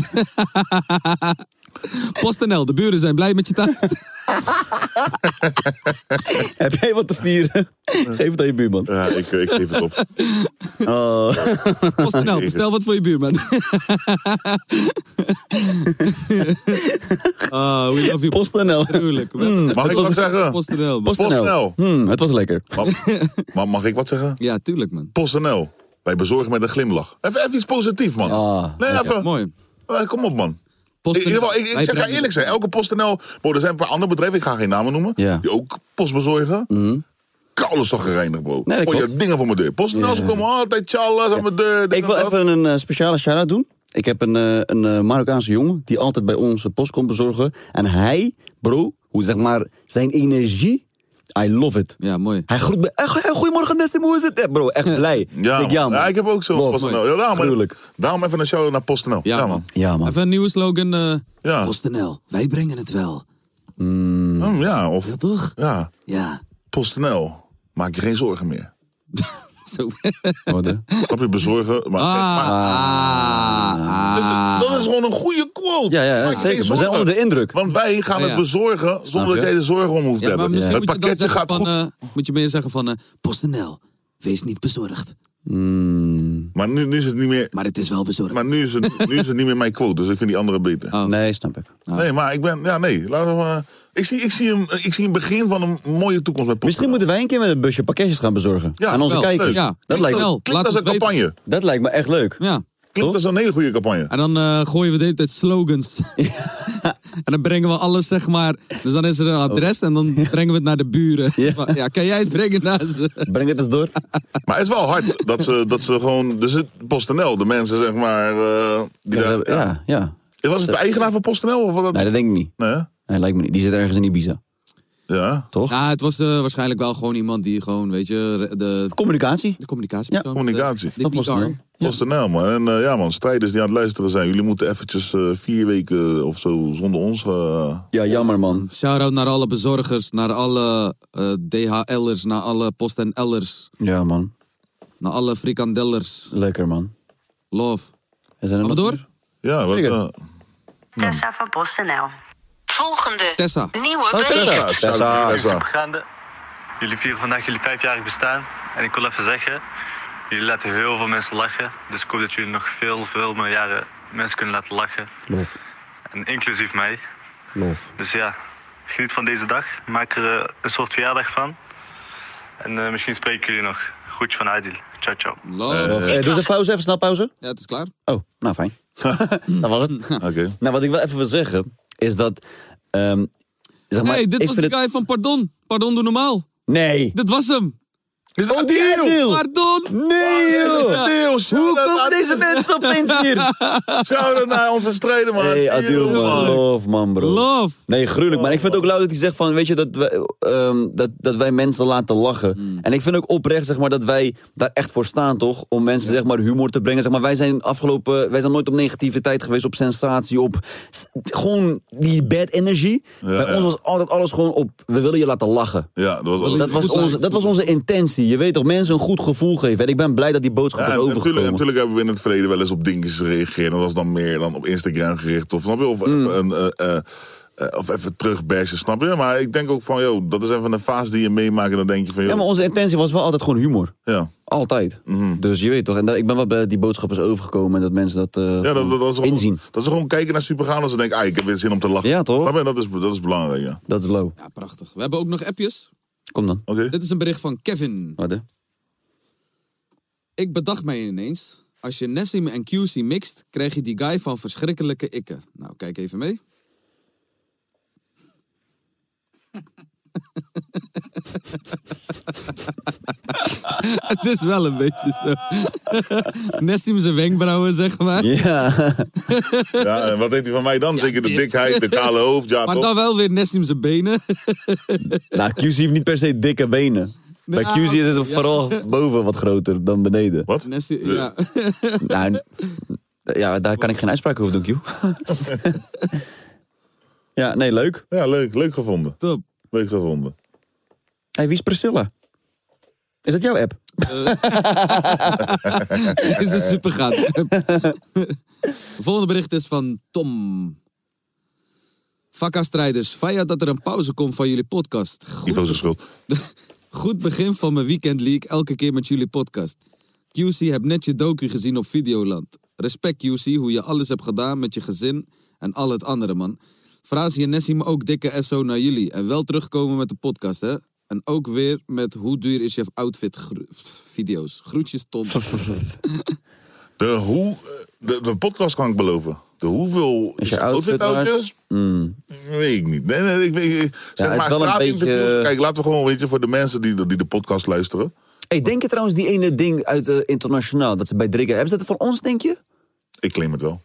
S5: PostNL, de buren zijn blij met je taart.
S11: Heb jij wat te vieren? Geef het aan je buurman.
S10: Ja, ik, ik geef het op.
S11: Oh.
S5: PostNL, Nou, bestel wat voor je buurman. Ah, we love you.
S11: PostNL.
S5: Gruwelijk.
S10: Mag ik wat zeggen?
S5: PostNL. man.
S10: PostNL.
S11: Hmm, het was lekker.
S10: Maar mag ik wat zeggen?
S5: Ja, tuurlijk, man.
S10: PostNL.
S11: Ah,
S10: Wij bezorgen met een glimlach. Even, even iets positiefs, man. nee, even.
S5: Mooi.
S10: Eh, Kom op, man. In ieder geval, ik, ik zeg ga eerlijk zijn. Elke PostNL... Bro, er zijn een paar andere bedrijven, ik ga geen namen noemen...
S11: Ja. Mhm.
S10: die ook post bezorgen. Koude toch gereinigd, bro.
S11: Nee,
S10: oh,
S11: dat
S10: je
S11: klopt.
S10: hebt dingen voor mijn deur. PostNL,
S11: Ja.
S10: ze komen altijd tjallas aan mijn deur. dit
S11: Ik
S10: en
S11: wil
S10: dat.
S11: even een eh, speciale shout-out doen. Ik heb een, eh, een eh, Marokkaanse jongen die altijd bij ons de post komt bezorgen. En hij, bro, hoe zeg maar, zijn energie, I love it.
S8: Ja, mooi.
S11: Hij groet me, echt, hey, goedemorgen Nessim, hoe is het? Eh, Bro, echt blij.
S10: Ja, man.
S11: ja, man.
S10: Ja, ik heb ook zo'n
S11: Love.
S10: PostNL. Ja, daarom,
S11: Gruwelijk.
S10: daarom even een shout-out naar PostNL. Ja, man.
S11: Ja, man.
S8: Even een nieuwe slogan. eh
S10: Ja.
S8: PostNL, wij brengen het wel. Mm.
S10: Hmm, ja, of...
S8: Ja, toch?
S10: Ja.
S8: Ja.
S10: PostNL, maak je geen zorgen meer.
S8: Zo.
S10: Snap je, bezorgen. Maar,
S8: Ah.
S10: maar- dat is gewoon een goede quote.
S11: Ja, ja, ja,
S10: Maak je
S11: zeker.
S10: geen
S11: We zijn
S10: zorgen.
S11: onder de indruk.
S10: Want wij gaan
S8: Ja,
S10: het
S8: ja.
S10: bezorgen
S8: Snap
S10: zonder dat
S8: je?
S10: jij er zorgen om hoeft
S8: Ja,
S10: te
S8: maar
S10: hebben.
S8: misschien
S10: Het
S8: moet, je dan
S10: pakketje
S8: zeggen
S10: gaat
S8: van,
S10: goed.
S8: eh, moet je meer zeggen van... eh, PostNL, wees niet bezorgd.
S11: Mm.
S10: Maar nu, nu is het niet meer.
S8: Maar het is wel bezorgd. Oh.
S10: Maar nu is, het, nu is het niet meer mijn quote, dus ik vind die andere beter.
S11: Nee, snap ik.
S8: Ah.
S10: Nee, maar ik ben. Ja, nee. Laten we. maar- Ik zie, ik, zie een, ik zie een begin van een mooie toekomst met Post.
S11: Misschien moeten wij een keer met een busje pakketjes gaan bezorgen.
S10: Ja,
S11: aan onze
S10: wel,
S11: kijkers.
S10: leuk. Ja.
S11: Dat
S10: Klinkt
S11: lijkt
S10: als-
S11: me
S10: klinkt Laat als het een weten. campagne.
S11: Dat lijkt me echt leuk.
S8: Ja.
S10: Klinkt als een hele goede campagne.
S8: En dan eh, gooien we de hele tijd slogans. en dan brengen we alles, zeg maar... Dus dan is er een adres en dan brengen we het naar de buren. Ja, kan jij het brengen naar ze?
S11: Breng het eens door.
S10: Maar het is wel hard dat ze, dat ze gewoon. Dus het PostNL, de mensen zeg maar. eh, die daar, ja.
S11: Ja, ja.
S10: Was het de eigenaar van PostNL? Of wat dat?
S11: Nee, dat denk ik niet.
S10: Nee,
S11: nee lijkt me niet. Die zit ergens in Ibiza.
S10: Ja.
S11: Toch?
S8: Ja, het was eh, waarschijnlijk wel gewoon iemand die gewoon, weet je... re- De
S11: communicatie.
S8: De
S11: eh,
S8: communicatiepersoon.
S10: Communicatie.
S8: De, de PR.
S10: PostNL, man. En eh, ja, man, strijders die aan het luisteren zijn. Jullie moeten eventjes eh, vier weken of zo zonder ons. eh,
S11: Ja, jammer man.
S8: Shout-out naar alle bezorgers, naar alle eh, DHL'ers, naar alle PostNL'ers,
S11: Ja, man.
S8: naar alle frikandellers.
S11: Lekker, man.
S8: Love.
S11: We zijn
S8: er door?
S10: Ja, wat... eh,
S5: Tessa van PostNL. Volgende.
S8: Tessa.
S5: Nieuwe
S8: Oh, Tessa.
S5: bericht.
S10: Tessa.
S6: Gaande. Jullie vieren vandaag jullie vijfjarig bestaan. En ik wil even zeggen, jullie laten heel veel mensen lachen. Dus ik hoop dat jullie nog veel, veel meer jaren mensen kunnen laten lachen.
S11: Lof.
S6: En inclusief mij.
S11: Lof.
S6: Dus ja, geniet van deze dag. Maak er eh, een soort verjaardag van. En eh, misschien spreken jullie nog. Groetjes van Adil. Ciao, ciao.
S11: Eh, doe eens een pauze, even snel pauze.
S8: Ja, het is klaar.
S11: Oh, nou fijn. dat was het. Nou, wat ik wel even wil zeggen, is dat... ehm, zeg maar,
S8: hey, dit
S11: ik
S8: was de
S11: vind het-
S8: guy van Pardon. Pardon, doe normaal.
S11: Nee.
S8: Dit was hem.
S10: Is dat
S11: Adil?
S8: Pardon.
S11: Nee, joh.
S10: Hoe
S11: komen deze mensen opeens hier?
S10: Shout-out naar onze strijder, man.
S11: Hey, Adil, man. Love, man, bro.
S8: Love.
S11: Nee, gruwelijk. Maar ik vind het ook lauw dat hij zegt van, weet je, dat wij, ehm, dat, dat wij mensen laten lachen.
S10: Hmm.
S11: En ik vind ook oprecht, zeg maar, dat wij daar echt voor staan, toch? Om mensen, zeg maar, humor te brengen. Zeg maar, wij zijn afgelopen, wij zijn nooit op negativiteit geweest, op sensatie, op s- gewoon die bad energy. Bij ons was altijd alles gewoon op, we willen je laten lachen.
S10: Ja, dat was,
S11: Dat was, onze, dat was onze intentie. Je weet toch, mensen een goed gevoel geven. En ik ben blij dat die boodschap
S10: Ja,
S11: is
S10: en natuurlijk,
S11: overgekomen.
S10: natuurlijk hebben we in het verleden wel eens op dingetjes gereageerd. En dat was dan meer dan op Instagram gericht. Of, snap je? Of, even, een, eh, eh, eh, of even terugbashen, snap je? Maar ik denk ook van, joh, dat is even een fase die je meemaakt. En dan denk je van, joh,
S11: Ja, maar onze intentie was wel altijd gewoon humor.
S10: Ja.
S11: Altijd.
S10: Mhm.
S11: Dus je weet toch. En daar- ik ben wel blij dat die boodschap is overgekomen en dat mensen dat, eh,
S10: ja, dat, dat, dat is gewoon-
S11: inzien.
S10: Dat is gewoon kijken naar Supergaan en ze denken, ah, ik heb weer zin om te lachen.
S11: Ja, toch?
S10: Snap je? Dat is, dat is belangrijk, ja.
S11: Dat is low.
S8: Ja, prachtig. We hebben ook nog appjes.
S11: Kom dan.
S10: Oké.
S8: Dit is een bericht van Kevin.
S11: Wat, hè?
S8: Ik bedacht mij ineens, als je Nessim en QC mixt, krijg je die guy van verschrikkelijke ikken. Nou, kijk even mee. Het is wel een beetje zo. Nessim zijn wenkbrauwen, zeg maar.
S11: Ja.
S10: ja en wat heeft hij van mij dan? Zeker de dikheid, de kale hoofd, ja,
S8: maar
S10: toch?
S8: dan wel weer Nessim zijn benen.
S11: Nou, QC heeft niet per se dikke benen. Bij
S8: Nou,
S11: QC is het
S8: ja.
S11: vooral boven wat groter dan beneden.
S10: Wat?
S8: Nessim, ja.
S11: Nou, n- ja, daar kan ik geen uitspraak over doen, Q. ja, nee, leuk.
S10: Ja, leuk. Leuk gevonden.
S8: Top.
S10: Leuk gevonden.
S11: hey, wie is Priscilla? Is dat jouw app?
S8: is dit super gaaf. Volgende bericht is van Tom. Vakka-strijders, faya dat er een pauze komt van jullie podcast.
S10: Ivo zijn schuld.
S8: Goed begin van mijn weekend league, elke keer met jullie podcast. QC, heb net je docu gezien op Videoland. Respect QC, hoe je alles hebt gedaan met je gezin en al het andere, man. Frazi en Nessim ook dikke SO naar jullie. En wel terugkomen met de podcast, hè. En ook weer met hoe duur is je outfit gro- video's. Groetjes, Tom.
S10: De hoe... De, de podcast kan ik beloven. De hoeveel
S11: Is je outfit
S10: outfitoutjes?
S11: waar? Mm.
S10: Weet ik niet. Nee, nee, ik weet
S11: Ja,
S10: zeg
S11: het is
S10: maar
S11: wel een
S10: straatinterviews.
S11: beetje-
S10: Kijk, laten we gewoon, weet je, voor de mensen die, de- die de podcast luisteren.
S11: Hey, denk je trouwens die ene ding uit eh, internationaal dat ze bij Drikker hebben? Is dat van ons, denk je?
S10: Ik claim het wel.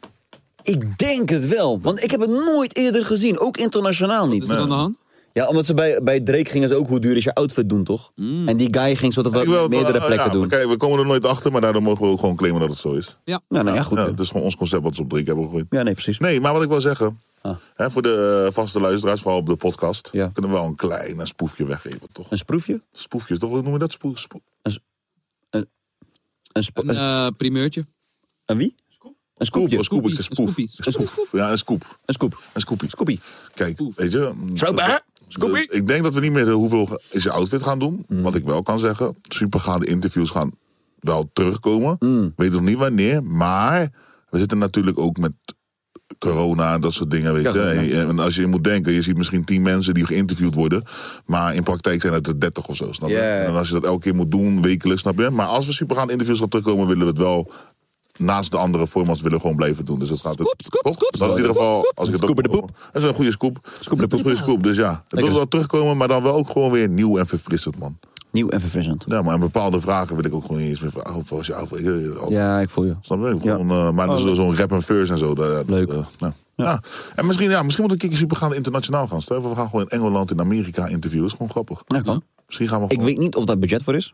S11: Ik denk het wel, want ik heb het nooit eerder gezien, ook internationaal niet. Wat
S5: is er aan de hand?
S11: Ja, omdat ze bij, bij Drake gingen ze ook hoe duur is je outfit doen, toch?
S5: Mm.
S11: En die guy ging soort
S10: Ik wil
S11: van
S10: het wel-
S11: meerdere
S10: ja,
S11: plekken
S10: maar
S11: doen.
S10: Kijk, we komen er nooit achter, maar daardoor mogen we ook gewoon claimen dat het zo is.
S5: Ja,
S11: nou, ja, goed.
S10: het is gewoon ons concept wat ze op drink hebben gegooid.
S11: Ja, nee, precies.
S10: Nee, maar wat ik wil zeggen.
S11: Ah.
S10: Hè, voor de eh, vaste luisteraars, vooral op de podcast. Kunnen we wel een klein een spoefje weggeven, toch?
S11: Een spoefje?
S10: Spoefje, is toch? Hoe noem je dat? Spoef, spoef.
S11: Een, spo-
S5: Een eh, primeurtje.
S11: Een wie? Een scoopje.
S10: Een scoopje, spoef. Een spoef. Ja, een scoop.
S11: Een scoop.
S10: Een scoopie. Kijk, weet je... mm, dat-
S11: Scoopie.
S10: de- Ik denk dat we niet meer de hoeveel ge- is je outfit gaan doen. Wat ik wel kan zeggen, supergaande interviews gaan wel terugkomen. Weet nog niet wanneer, maar we zitten natuurlijk ook met corona en dat soort dingen, weet je. En- En als je moet denken, je ziet misschien tien mensen die geïnterviewd worden, maar in praktijk zijn het er dertig of zo, snap je?
S11: Ja.
S10: En dan als je dat elke keer moet doen, wekelijks, snap je? Maar als we supergaande interviews gaan terugkomen, willen we het wel naast de andere formats willen we gewoon blijven doen. Dus dat gaat het. Toch? dat is in ieder geval. Als ik het ook, de poep. Dat is een goede scoop. Scoop de poep. Goede scoop. Dus ja, het wil wel terugkomen, maar dan wel ook gewoon weer nieuw en verfrissend, man.
S11: Nieuw en verfrissend.
S10: Ja, maar aan bepaalde vragen wil ik ook gewoon niet eens meer vragen. Of als je af.
S11: Ja, Oh, ik voel je.
S10: Snap je? Gewoon, eh, maar dat is zo'n rap en verse en zo. Leuk. ja. Ja. En misschien, ja, misschien moet ik een keer super gaan internationaal gaan. Stel, even, we gaan gewoon in Engeland, in Amerika interviewen. Dat is gewoon grappig.
S11: Ja, kan.
S10: Misschien gaan we
S11: Ik
S10: gewoon...
S11: weet niet of daar budget voor is.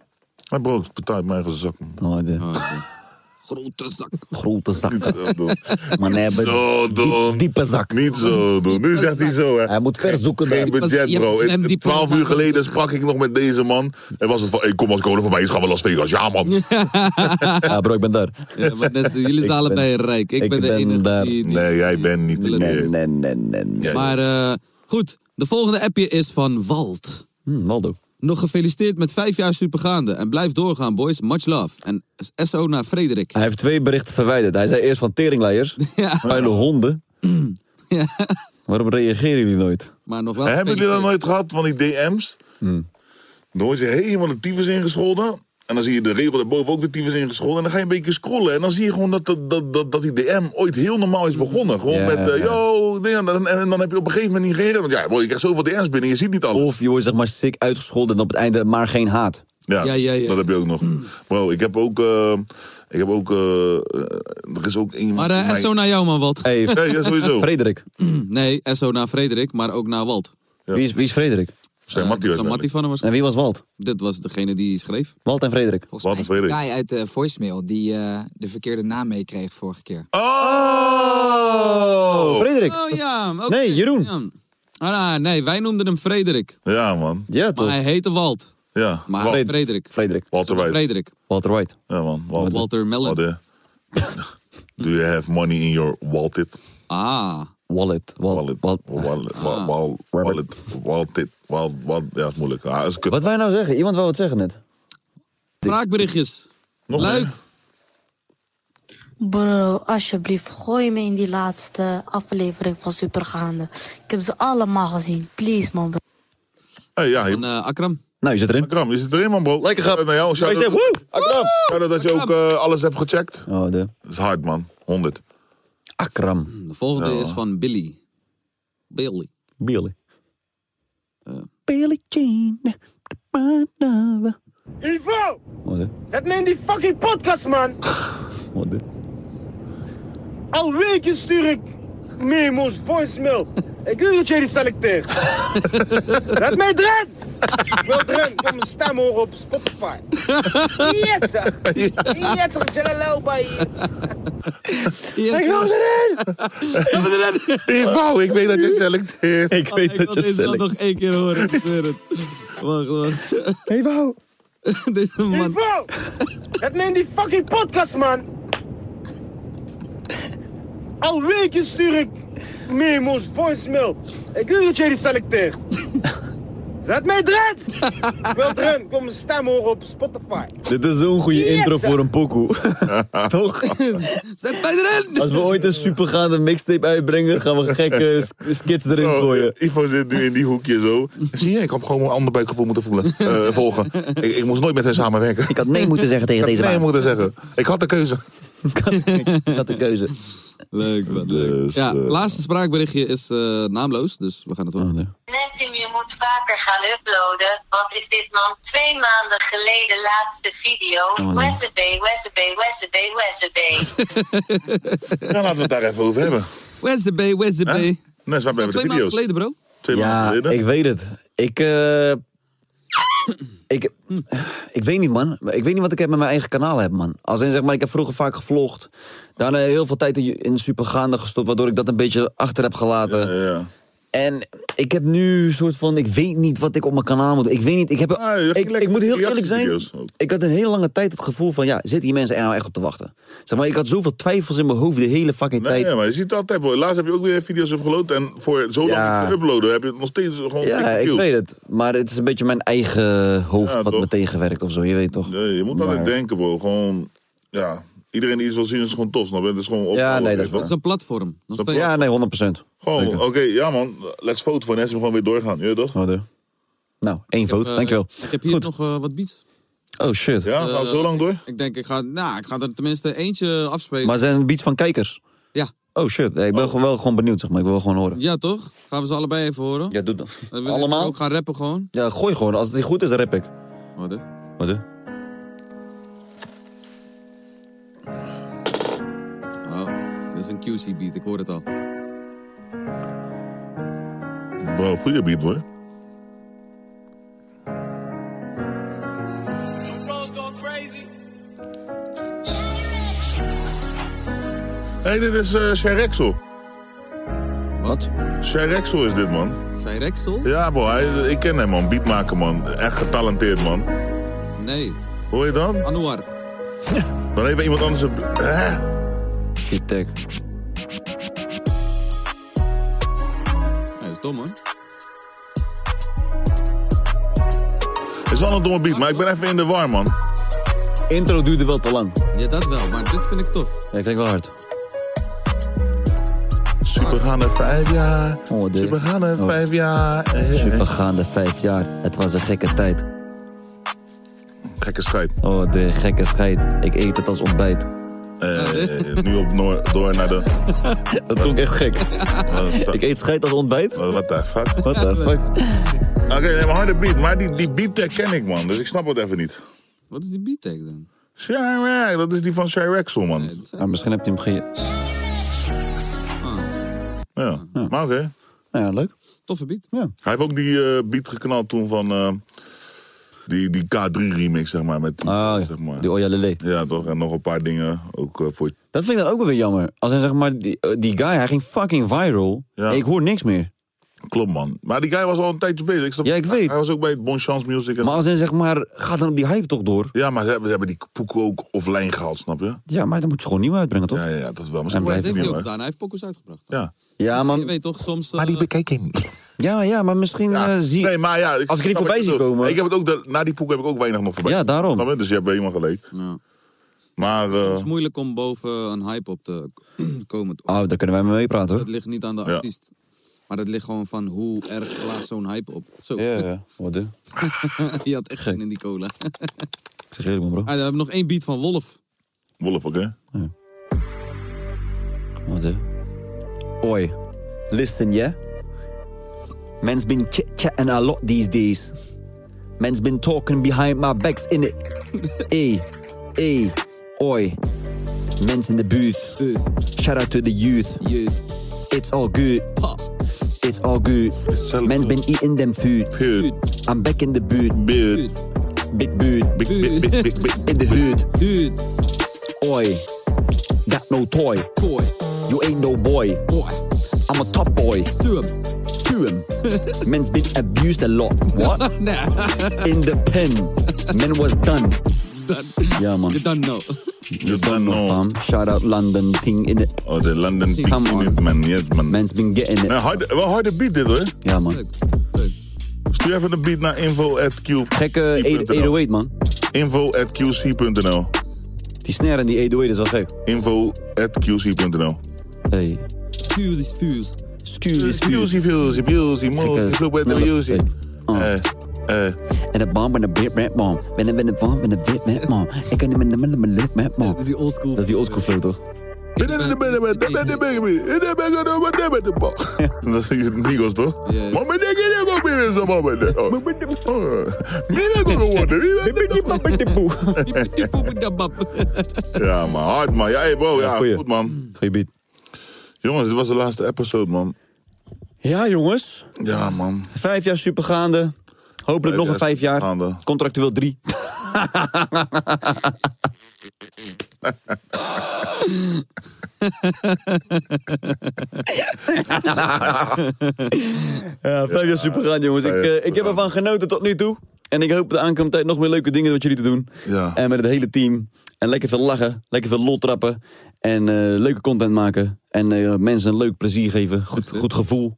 S10: Maar bro, het betaalt mijn eigen zak.
S11: Oh, de...
S5: Grote zak.
S11: Grote zak.
S10: Maar
S11: Maar nee, maar-
S10: zo doen.
S11: diepe zak.
S10: Niet zo doen. Nu zegt hij zo, hè.
S11: Hij moet verzoeken.
S10: Geen
S11: dan.
S10: budget, bro.
S11: Je hebt
S10: Ik-
S11: die
S10: Twaalf
S11: plan-
S10: uur geleden sprak ik nog met deze man. En was het van, hey, kom als code voorbij is, gaan we Las Vegas. Ja, man.
S11: Ja, bro, ik ben daar.
S5: Ja, maar net, jullie
S11: Ik
S5: zijn allebei
S11: ben-
S5: rijk. Ik,
S11: ik
S5: ben de
S11: ben
S5: enige
S11: daar.
S5: die, die-
S10: Nee, jij bent niet.
S5: Nee,
S10: nee,
S11: Nee, nee, nee. nee.
S5: Maar eh, goed, de volgende appje is van Walt.
S10: Hmm,
S11: Hm, Waldo.
S5: Nog gefeliciteerd met vijf jaar supergaande. En blijf doorgaan, boys. Much love. En SO naar Frederik.
S11: Hij heeft twee berichten verwijderd. Hij zei eerst van teringleiers, vuile honden. Waarom reageren jullie nooit?
S5: Maar nog wel.
S10: Hebben jullie dat nooit gehad van die DM's? Dan word je helemaal de tyfus ingescholden. En dan zie je de regel daarboven ook de tyfus ingescholden. En dan ga je een beetje scrollen. En dan zie je gewoon dat, dat, dat, dat, dat die DM ooit heel normaal is begonnen. Gewoon
S11: Ja,
S10: met, eh,
S11: ja.
S10: yo, dingen. en, en dan heb je op een gegeven moment niet gereageerd. Want ja, bro, je krijgt zoveel DM's binnen, je ziet niet alles.
S11: Of je wordt zeg maar sick uitgescholden en op het einde maar geen haat.
S10: Ja,
S5: Ja, ja, ja.
S10: dat heb je ook nog. Bro, ik heb ook... eh, ik heb ook... eh, eh, er is ook iemand...
S5: Maar
S10: in
S5: eh,
S10: mijn-
S5: SO naar jou, man, Walt.
S11: Hey,
S10: Ja, ja, sowieso.
S11: Frederik.
S5: Nee, SO naar Frederik, maar ook naar Walt.
S11: Wie is, wie is Frederik?
S10: Zijn
S5: Mattie
S10: Mattie
S5: dat is Mattie van hem was.
S11: En wie was Walt?
S5: Dit was degene die schreef.
S11: Walt en Frederik.
S5: Oh.
S10: Wat een vrede.
S12: Guy uit de voicemail die eh, de verkeerde naam meekreeg vorige keer.
S10: Oh!
S11: Frederik.
S5: Oh ja, oké.
S11: Nee, Jeroen.
S5: Ja. Ah, nou, nee, wij noemden hem Frederik.
S10: Ja, man.
S11: Ja,
S5: Maar
S11: toch?
S5: hij heette Walt.
S10: Ja.
S5: Maar
S10: Walt-
S5: Frederik.
S11: Frederik.
S10: Walter White.
S5: Frederik.
S11: Walter White.
S10: Ja, man. Walter.
S5: Walter Mellon.
S10: Walter. Do you have money in your wallet?
S5: Ah.
S11: Wallet. Wal-
S10: Wallet.
S11: wal-
S10: Wallet. Wal, wal, wallet. Wallet. Wal, wal, ja, is moeilijk. Ah, is kut.
S11: Wat wij nou zeggen? Iemand wou het zeggen net.
S5: Spraakberichtjes.
S10: Nog
S5: Leuk.
S17: Bro, alsjeblieft, gooi me in die laatste aflevering van Supergaande. Ik heb ze allemaal gezien. Please, man.
S10: Hey, ja, je,
S5: Van eh, Akram.
S11: Nou, je zit erin.
S10: Akram, je zit erin, man, bro. Lekker grap. Nou, jou, shout
S11: Hij zei, woe, Akram.
S10: Shout-out dat je ook eh, alles hebt gecheckt.
S11: Oh, de
S10: Dat is hard, man. 100.
S11: Akram.
S5: De volgende
S10: Ja.
S5: is van Billy. Billy.
S11: Billy.
S5: Eh.
S11: Billy Jean.
S8: Ivo,
S11: Wat de?
S8: zet me in die fucking podcast, man.
S11: Wat de?
S8: Al weken stuur ik memo's, voicemail. Ik wil dat jij die selecteert. zet mij erin. Ik wil erin. Ik wil mijn stem horen op Spotify. Jetzer. Jetzer, jalalou, bij
S5: Ik
S8: wil erin.
S10: Ivo, ik weet dat je selecteert.
S11: Ik weet
S5: Oh, Ik
S11: dat
S5: wil
S11: je
S5: deze man
S11: select.
S5: nog één keer horen. Ik zweer het. Wacht, wacht.
S11: Hey, wauw.
S5: Deze man.
S8: Ivo, zet me in die fucking podcast, man. Al weken stuur ik memo's, voicemail. Ik wil dat jij die selecteert. Zet mij erin. Ik wil erin. Ik wil mijn stem horen op Spotify.
S11: Dit is zo'n goede intro voor een pokoe. Toch?
S5: Zet mij erin.
S11: Als we ooit een supergaande mixtape uitbrengen, gaan we gekke sk- skits erin
S10: Bro,
S11: gooien.
S10: Eh, Ivo zit nu in die hoekje zo. Oh, Zie je, ik had gewoon mijn ander buikgevoel moeten voelen, eh, volgen. Ik, ik moest nooit met hen samenwerken. Ik
S11: had nee moeten zeggen tegen
S10: had
S11: deze
S10: nee
S11: man.
S10: moeten zeggen. Ik had de keuze.
S11: Ik had de keuze.
S8: Leuk, man.
S10: Dus,
S8: ja,
S10: eh,
S8: laatste spraakberichtje is eh, naamloos, dus we gaan het horen.
S11: Ah,
S5: Nessim, je moet vaker gaan uploaden. Wat is dit man? Twee maanden geleden laatste video.
S10: nee.
S5: Wessebe, Wessebe, Wessebe, Wessebe.
S10: Ja, Nou, laten we het daar even over hebben.
S8: Where's the bay, where's the bay?
S10: Nes, waar blijven de
S8: twee maanden
S10: video's?
S8: geleden, bro.
S10: Twee maanden
S11: ja,
S10: geleden?
S11: ik weet het. Ik, eh, ik, ik weet niet, man. Ik weet niet wat ik heb met mijn eigen kanaal heb, man. Als in, zeg maar, ik heb vroeger vaak gevlogd. Daarna heel veel tijd in, in supergaande gestopt, waardoor ik dat een beetje achter heb gelaten. En ik heb nu een soort van, ik weet niet wat ik op mijn kanaal moet doen. Ik weet niet, ik, heb, ik, ik moet heel eerlijk zijn. Ik had een hele lange tijd het gevoel van, ja, zitten die mensen er nou echt op te wachten? Zeg maar, ik had zoveel twijfels in mijn hoofd de hele fucking
S10: Nee,
S11: tijd.
S10: ja, maar je ziet het altijd wel. Laatst heb je ook weer video's opgeload. En voor zo lang
S11: Ja.
S10: niet geüploaden heb je het nog steeds gewoon
S11: Ja,
S10: dikke
S11: ik
S10: views.
S11: weet het. Maar het is een beetje mijn eigen hoofd
S10: Ja,
S11: wat me
S10: toch?
S11: tegenwerkt of zo. Je weet toch?
S10: Ja, je moet altijd
S11: Maar-
S10: denken, bro. Gewoon, ja. Iedereen die iets wil zien is gewoon tof. snap je? Het is gewoon op.
S11: Ja, nee, dat is waar.
S10: is
S11: Het is een
S8: platform.
S11: Ja, nee, 100
S10: Gewoon,
S11: Zeker.
S10: oké, ja man. Let's foto van Nessie gewoon weer doorgaan. Je weet toch?
S11: Nou, één foto.
S8: Eh,
S11: Dankjewel.
S8: Ik heb hier nog eh, wat beats.
S11: Oh shit.
S8: Eh, Ik denk, ik ga, nou, ik ga er tenminste eentje afspelen.
S11: Maar zijn het beats van kijkers?
S8: Ja.
S11: Oh shit. Nee, ik ben gewoon wel gewoon benieuwd, zeg maar. Ik wil wel gewoon horen.
S8: Ja, toch? Gaan we ze allebei even horen? Eh,
S11: Ja, doe dat.
S8: Allemaal? Ook gaan rappen gewoon.
S11: Ja, gooi gewoon. Als het niet goed is, rap ik.
S8: Wat hè?
S11: Wat hè?
S8: Oh, dat is een QC beat, ik hoor het al.
S10: Bro, goede beat hoor. hey, dit is eh Sherexel.
S8: Wat?
S10: Sherexel is dit, man.
S8: Sherexel?
S10: Ja, bro, hij, ik ken hem, man. Beatmaker, man. Echt getalenteerd, man.
S8: Nee.
S10: Hoor je dan?
S8: Anouar.
S10: Dan even iemand anders een... Hè?
S11: Shit, tech.
S8: Hij is dom, hoor.
S10: Het is wel een domme beat, maar ik ben even in de war, man.
S11: Intro duurde wel te lang.
S8: Ja, dat wel, maar dit vind ik tof.
S11: Ja, ik denk wel hard. Oh,
S10: Supergaande vijf jaar.
S11: Oh, dit.
S10: Supergaande
S11: Oh.
S10: vijf jaar. Eh, eh, eh.
S11: Supergaande vijf jaar. Het was een gekke tijd.
S10: Gekke scheid.
S11: Oh, de gekke scheid. Ik eet het als ontbijt.
S10: Eh, nu op noor- door naar de...
S11: Dat klonk echt gek.
S10: Ik
S11: eet scheid als ontbijt?
S10: What the fuck?
S11: What the fuck?
S10: Oké, nee, maar harde beat. Maar die, die beat tag ken ik, man. Dus ik snap het even niet.
S8: Wat is die beat tag dan?
S10: Chirac, dat is die van Chiraxel, man.
S11: Maar misschien heb je hem ge...
S10: Ja, maar oké.
S11: Ja, leuk.
S8: Toffe beat.
S11: Ja.
S10: Hij heeft ook die eh, beat geknald toen van eh, die, die K3-remix, zeg maar. Met,
S11: Ah.
S10: zeg maar. Die
S11: Oya
S10: Ja, toch? En nog een paar dingen ook eh, voor...
S11: Dat vind ik dan ook wel weer jammer. Als in, zeg maar, die, eh, die guy, hij ging fucking viral. Ik hoor niks meer.
S10: Klopt, man. Maar die guy was al een tijdje bezig. Ik snap-
S11: Ja, ik weet.
S10: Hij was ook bij het Bonchance Music. En...
S11: Maar als in, zeg maar, gaat dan op die hype toch door?
S10: Ja, maar ze hebben, ze hebben die poeko ook offline gehaald, snap je?
S11: Ja, maar dan moet je gewoon nieuw uitbrengen, toch?
S10: Ja, ja, ja dat wel. Maar
S11: En
S10: ze
S8: Maar
S11: blijft
S8: dat heeft
S11: niet,
S8: hij ook
S11: hoor.
S8: gedaan. Hij heeft pokkers uitgebracht.
S10: Ja.
S11: Ja, maar...
S8: Je weet toch, soms... eh,
S11: bekijk hem niet. Ja, ja, maar misschien eh, zie
S10: Nee, maar ja,
S11: Als ik die voorbij zie komen...
S10: Ik heb het ook, dat- na die poek heb ik ook weinig nog voorbij.
S11: Ja, daarom.
S10: Snap je? Dus je hebt helemaal gelijk. Maar, eh,
S8: Het is moeilijk om boven een hype op te komen.
S11: Oh, daar kunnen wij mee praten, hoor.
S8: Dat ligt niet aan de
S11: Ja.
S8: artiest. Maar dat ligt gewoon van hoe erg klaas zo'n hype op. Zo.
S11: Ja, ja. Wat de?
S8: Je had echt zin in die cola. ah,
S11: Zeg eerlijk, man, bro.
S8: we hebben nog één beat van Wolf.
S10: Wolf, oké.
S11: Wat hè? Oi, listen, yeah? Man's been chit-chatting a lot these days. Man's been talking behind my backs, innit? Ey, ey, oi. Mens in de buurt.
S8: Dus,
S11: Shout out to the youth.
S8: Youth.
S11: It's all good. It's all good. Mens been eating them food.
S10: Food.
S11: I'm back in the buurt.
S10: Buurt.
S11: Big buurt.
S10: Big, big,
S8: dus,
S10: big, big, big.
S11: In the hood. Hood. Oi. Got no toy. Toy. You ain't no boy. Boy. I'm a top boy. Sue him. Sue him. Men's been abused a lot. What?
S8: nah.
S11: In the pen. Men was done.
S8: Done.
S11: Yeah, man.
S8: You don't know.
S11: You done know. fam. Shout out London thing in it.
S10: Oh, de London thing in it, man. Yes, man.
S11: Men's been getting it.
S10: Nee, harde, wel harde beat dit, hoor.
S11: Ja, man.
S10: Stuur even een beat naar info at q.
S11: Gekke 808, man.
S10: Info at qc.nl.
S11: Die snare en die 808 is wel gek.
S10: Info at qc.nl.
S11: Hey.
S8: Spuws is spuws.
S11: Spuws
S10: is spuws. Spuws is spuws.
S11: eh,
S10: Moes, loop met de music.
S11: Uh.
S10: Eh, eh.
S11: En de bomb en de beat rap, man. Ben een ben een bomb en de beat rap, man. Ik kan niet meer naar mijn lip rap, man.
S8: Dat is die oldschool.
S11: Dat is die oldschool flow, toch?
S8: Ken
S10: En dan zing je Migos, toch? Mama, denk je niet op in zijn mama? Oh, Mira, kom Ja, man, hard, man. Ja, hey, bro, ja, goed, man.
S11: Goeie beat.
S10: Jongens, dit was de laatste episode, man.
S11: Ja, jongens.
S10: Ja, man.
S11: Vijf jaar supergaande. Hopelijk nog een vijf jaar. Contractueel drie. ja, vijf jaar supergaande, jongens. Ik, eh, ik heb ervan genoten tot nu toe. En ik hoop de aankomende tijd nog meer leuke dingen met jullie te doen.
S10: Ja.
S11: En met het hele team. En lekker veel lachen. Lekker veel lol trappen. En eh, leuke content maken. En eh, mensen een leuk plezier geven. Goed, goed gevoel.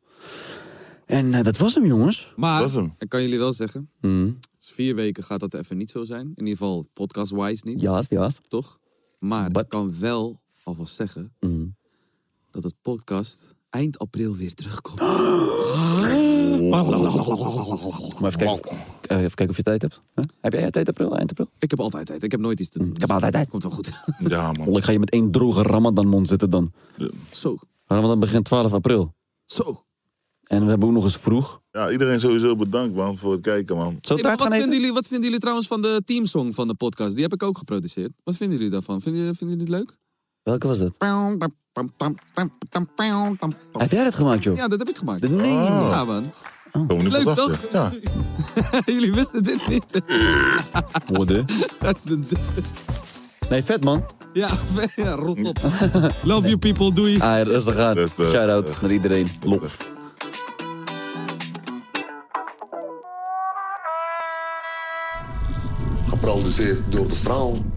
S11: En eh, dat was hem, jongens.
S8: Maar,
S11: Dat was hem.
S8: ik kan jullie wel zeggen,
S11: Mhm.
S8: dus vier weken gaat dat even niet zo zijn. In ieder geval podcast-wise niet.
S11: Juist, juist.
S8: Toch? Maar ik kan wel alvast zeggen
S11: Mhm.
S8: dat het podcast eind april weer terugkomt.
S11: Maar even kijken, of- eh, even kijken of je tijd hebt. Huh? Heb jij tijd april, eind april?
S8: Ik heb altijd tijd. Ik heb nooit iets te doen.
S11: Mhm, Ik heb altijd tijd.
S8: Komt wel goed.
S10: Ja, man.
S11: Ik ga je met één droge Ramadan-mond zitten dan.
S8: Zo.
S11: Ramadan begint 12 april.
S8: Zo.
S11: En we hebben ook nog eens vroeg.
S10: Ja, iedereen sowieso bedankt, man, voor het kijken, man.
S11: Zo
S8: Hey, maar wat, vinden jullie, wat vinden jullie trouwens van de teamsong van de podcast? Die heb ik ook geproduceerd. Wat vinden jullie daarvan? Vinden jullie, vinden jullie het leuk?
S11: Welke was dat? Heb jij dat gemaakt, joh?
S8: Ja, Oh. dat heb ik gemaakt.
S11: Nee, man.
S8: Ja, man.
S10: Komen
S8: Leuk, toch? jullie wisten dit niet.
S11: Worden. Nee, vet, man.
S8: ja, ja, rot op. Love you people, doei.
S11: Ah, rustig aan. Shout-out naar iedereen. Lof.
S1: Geproduceerd door de straal.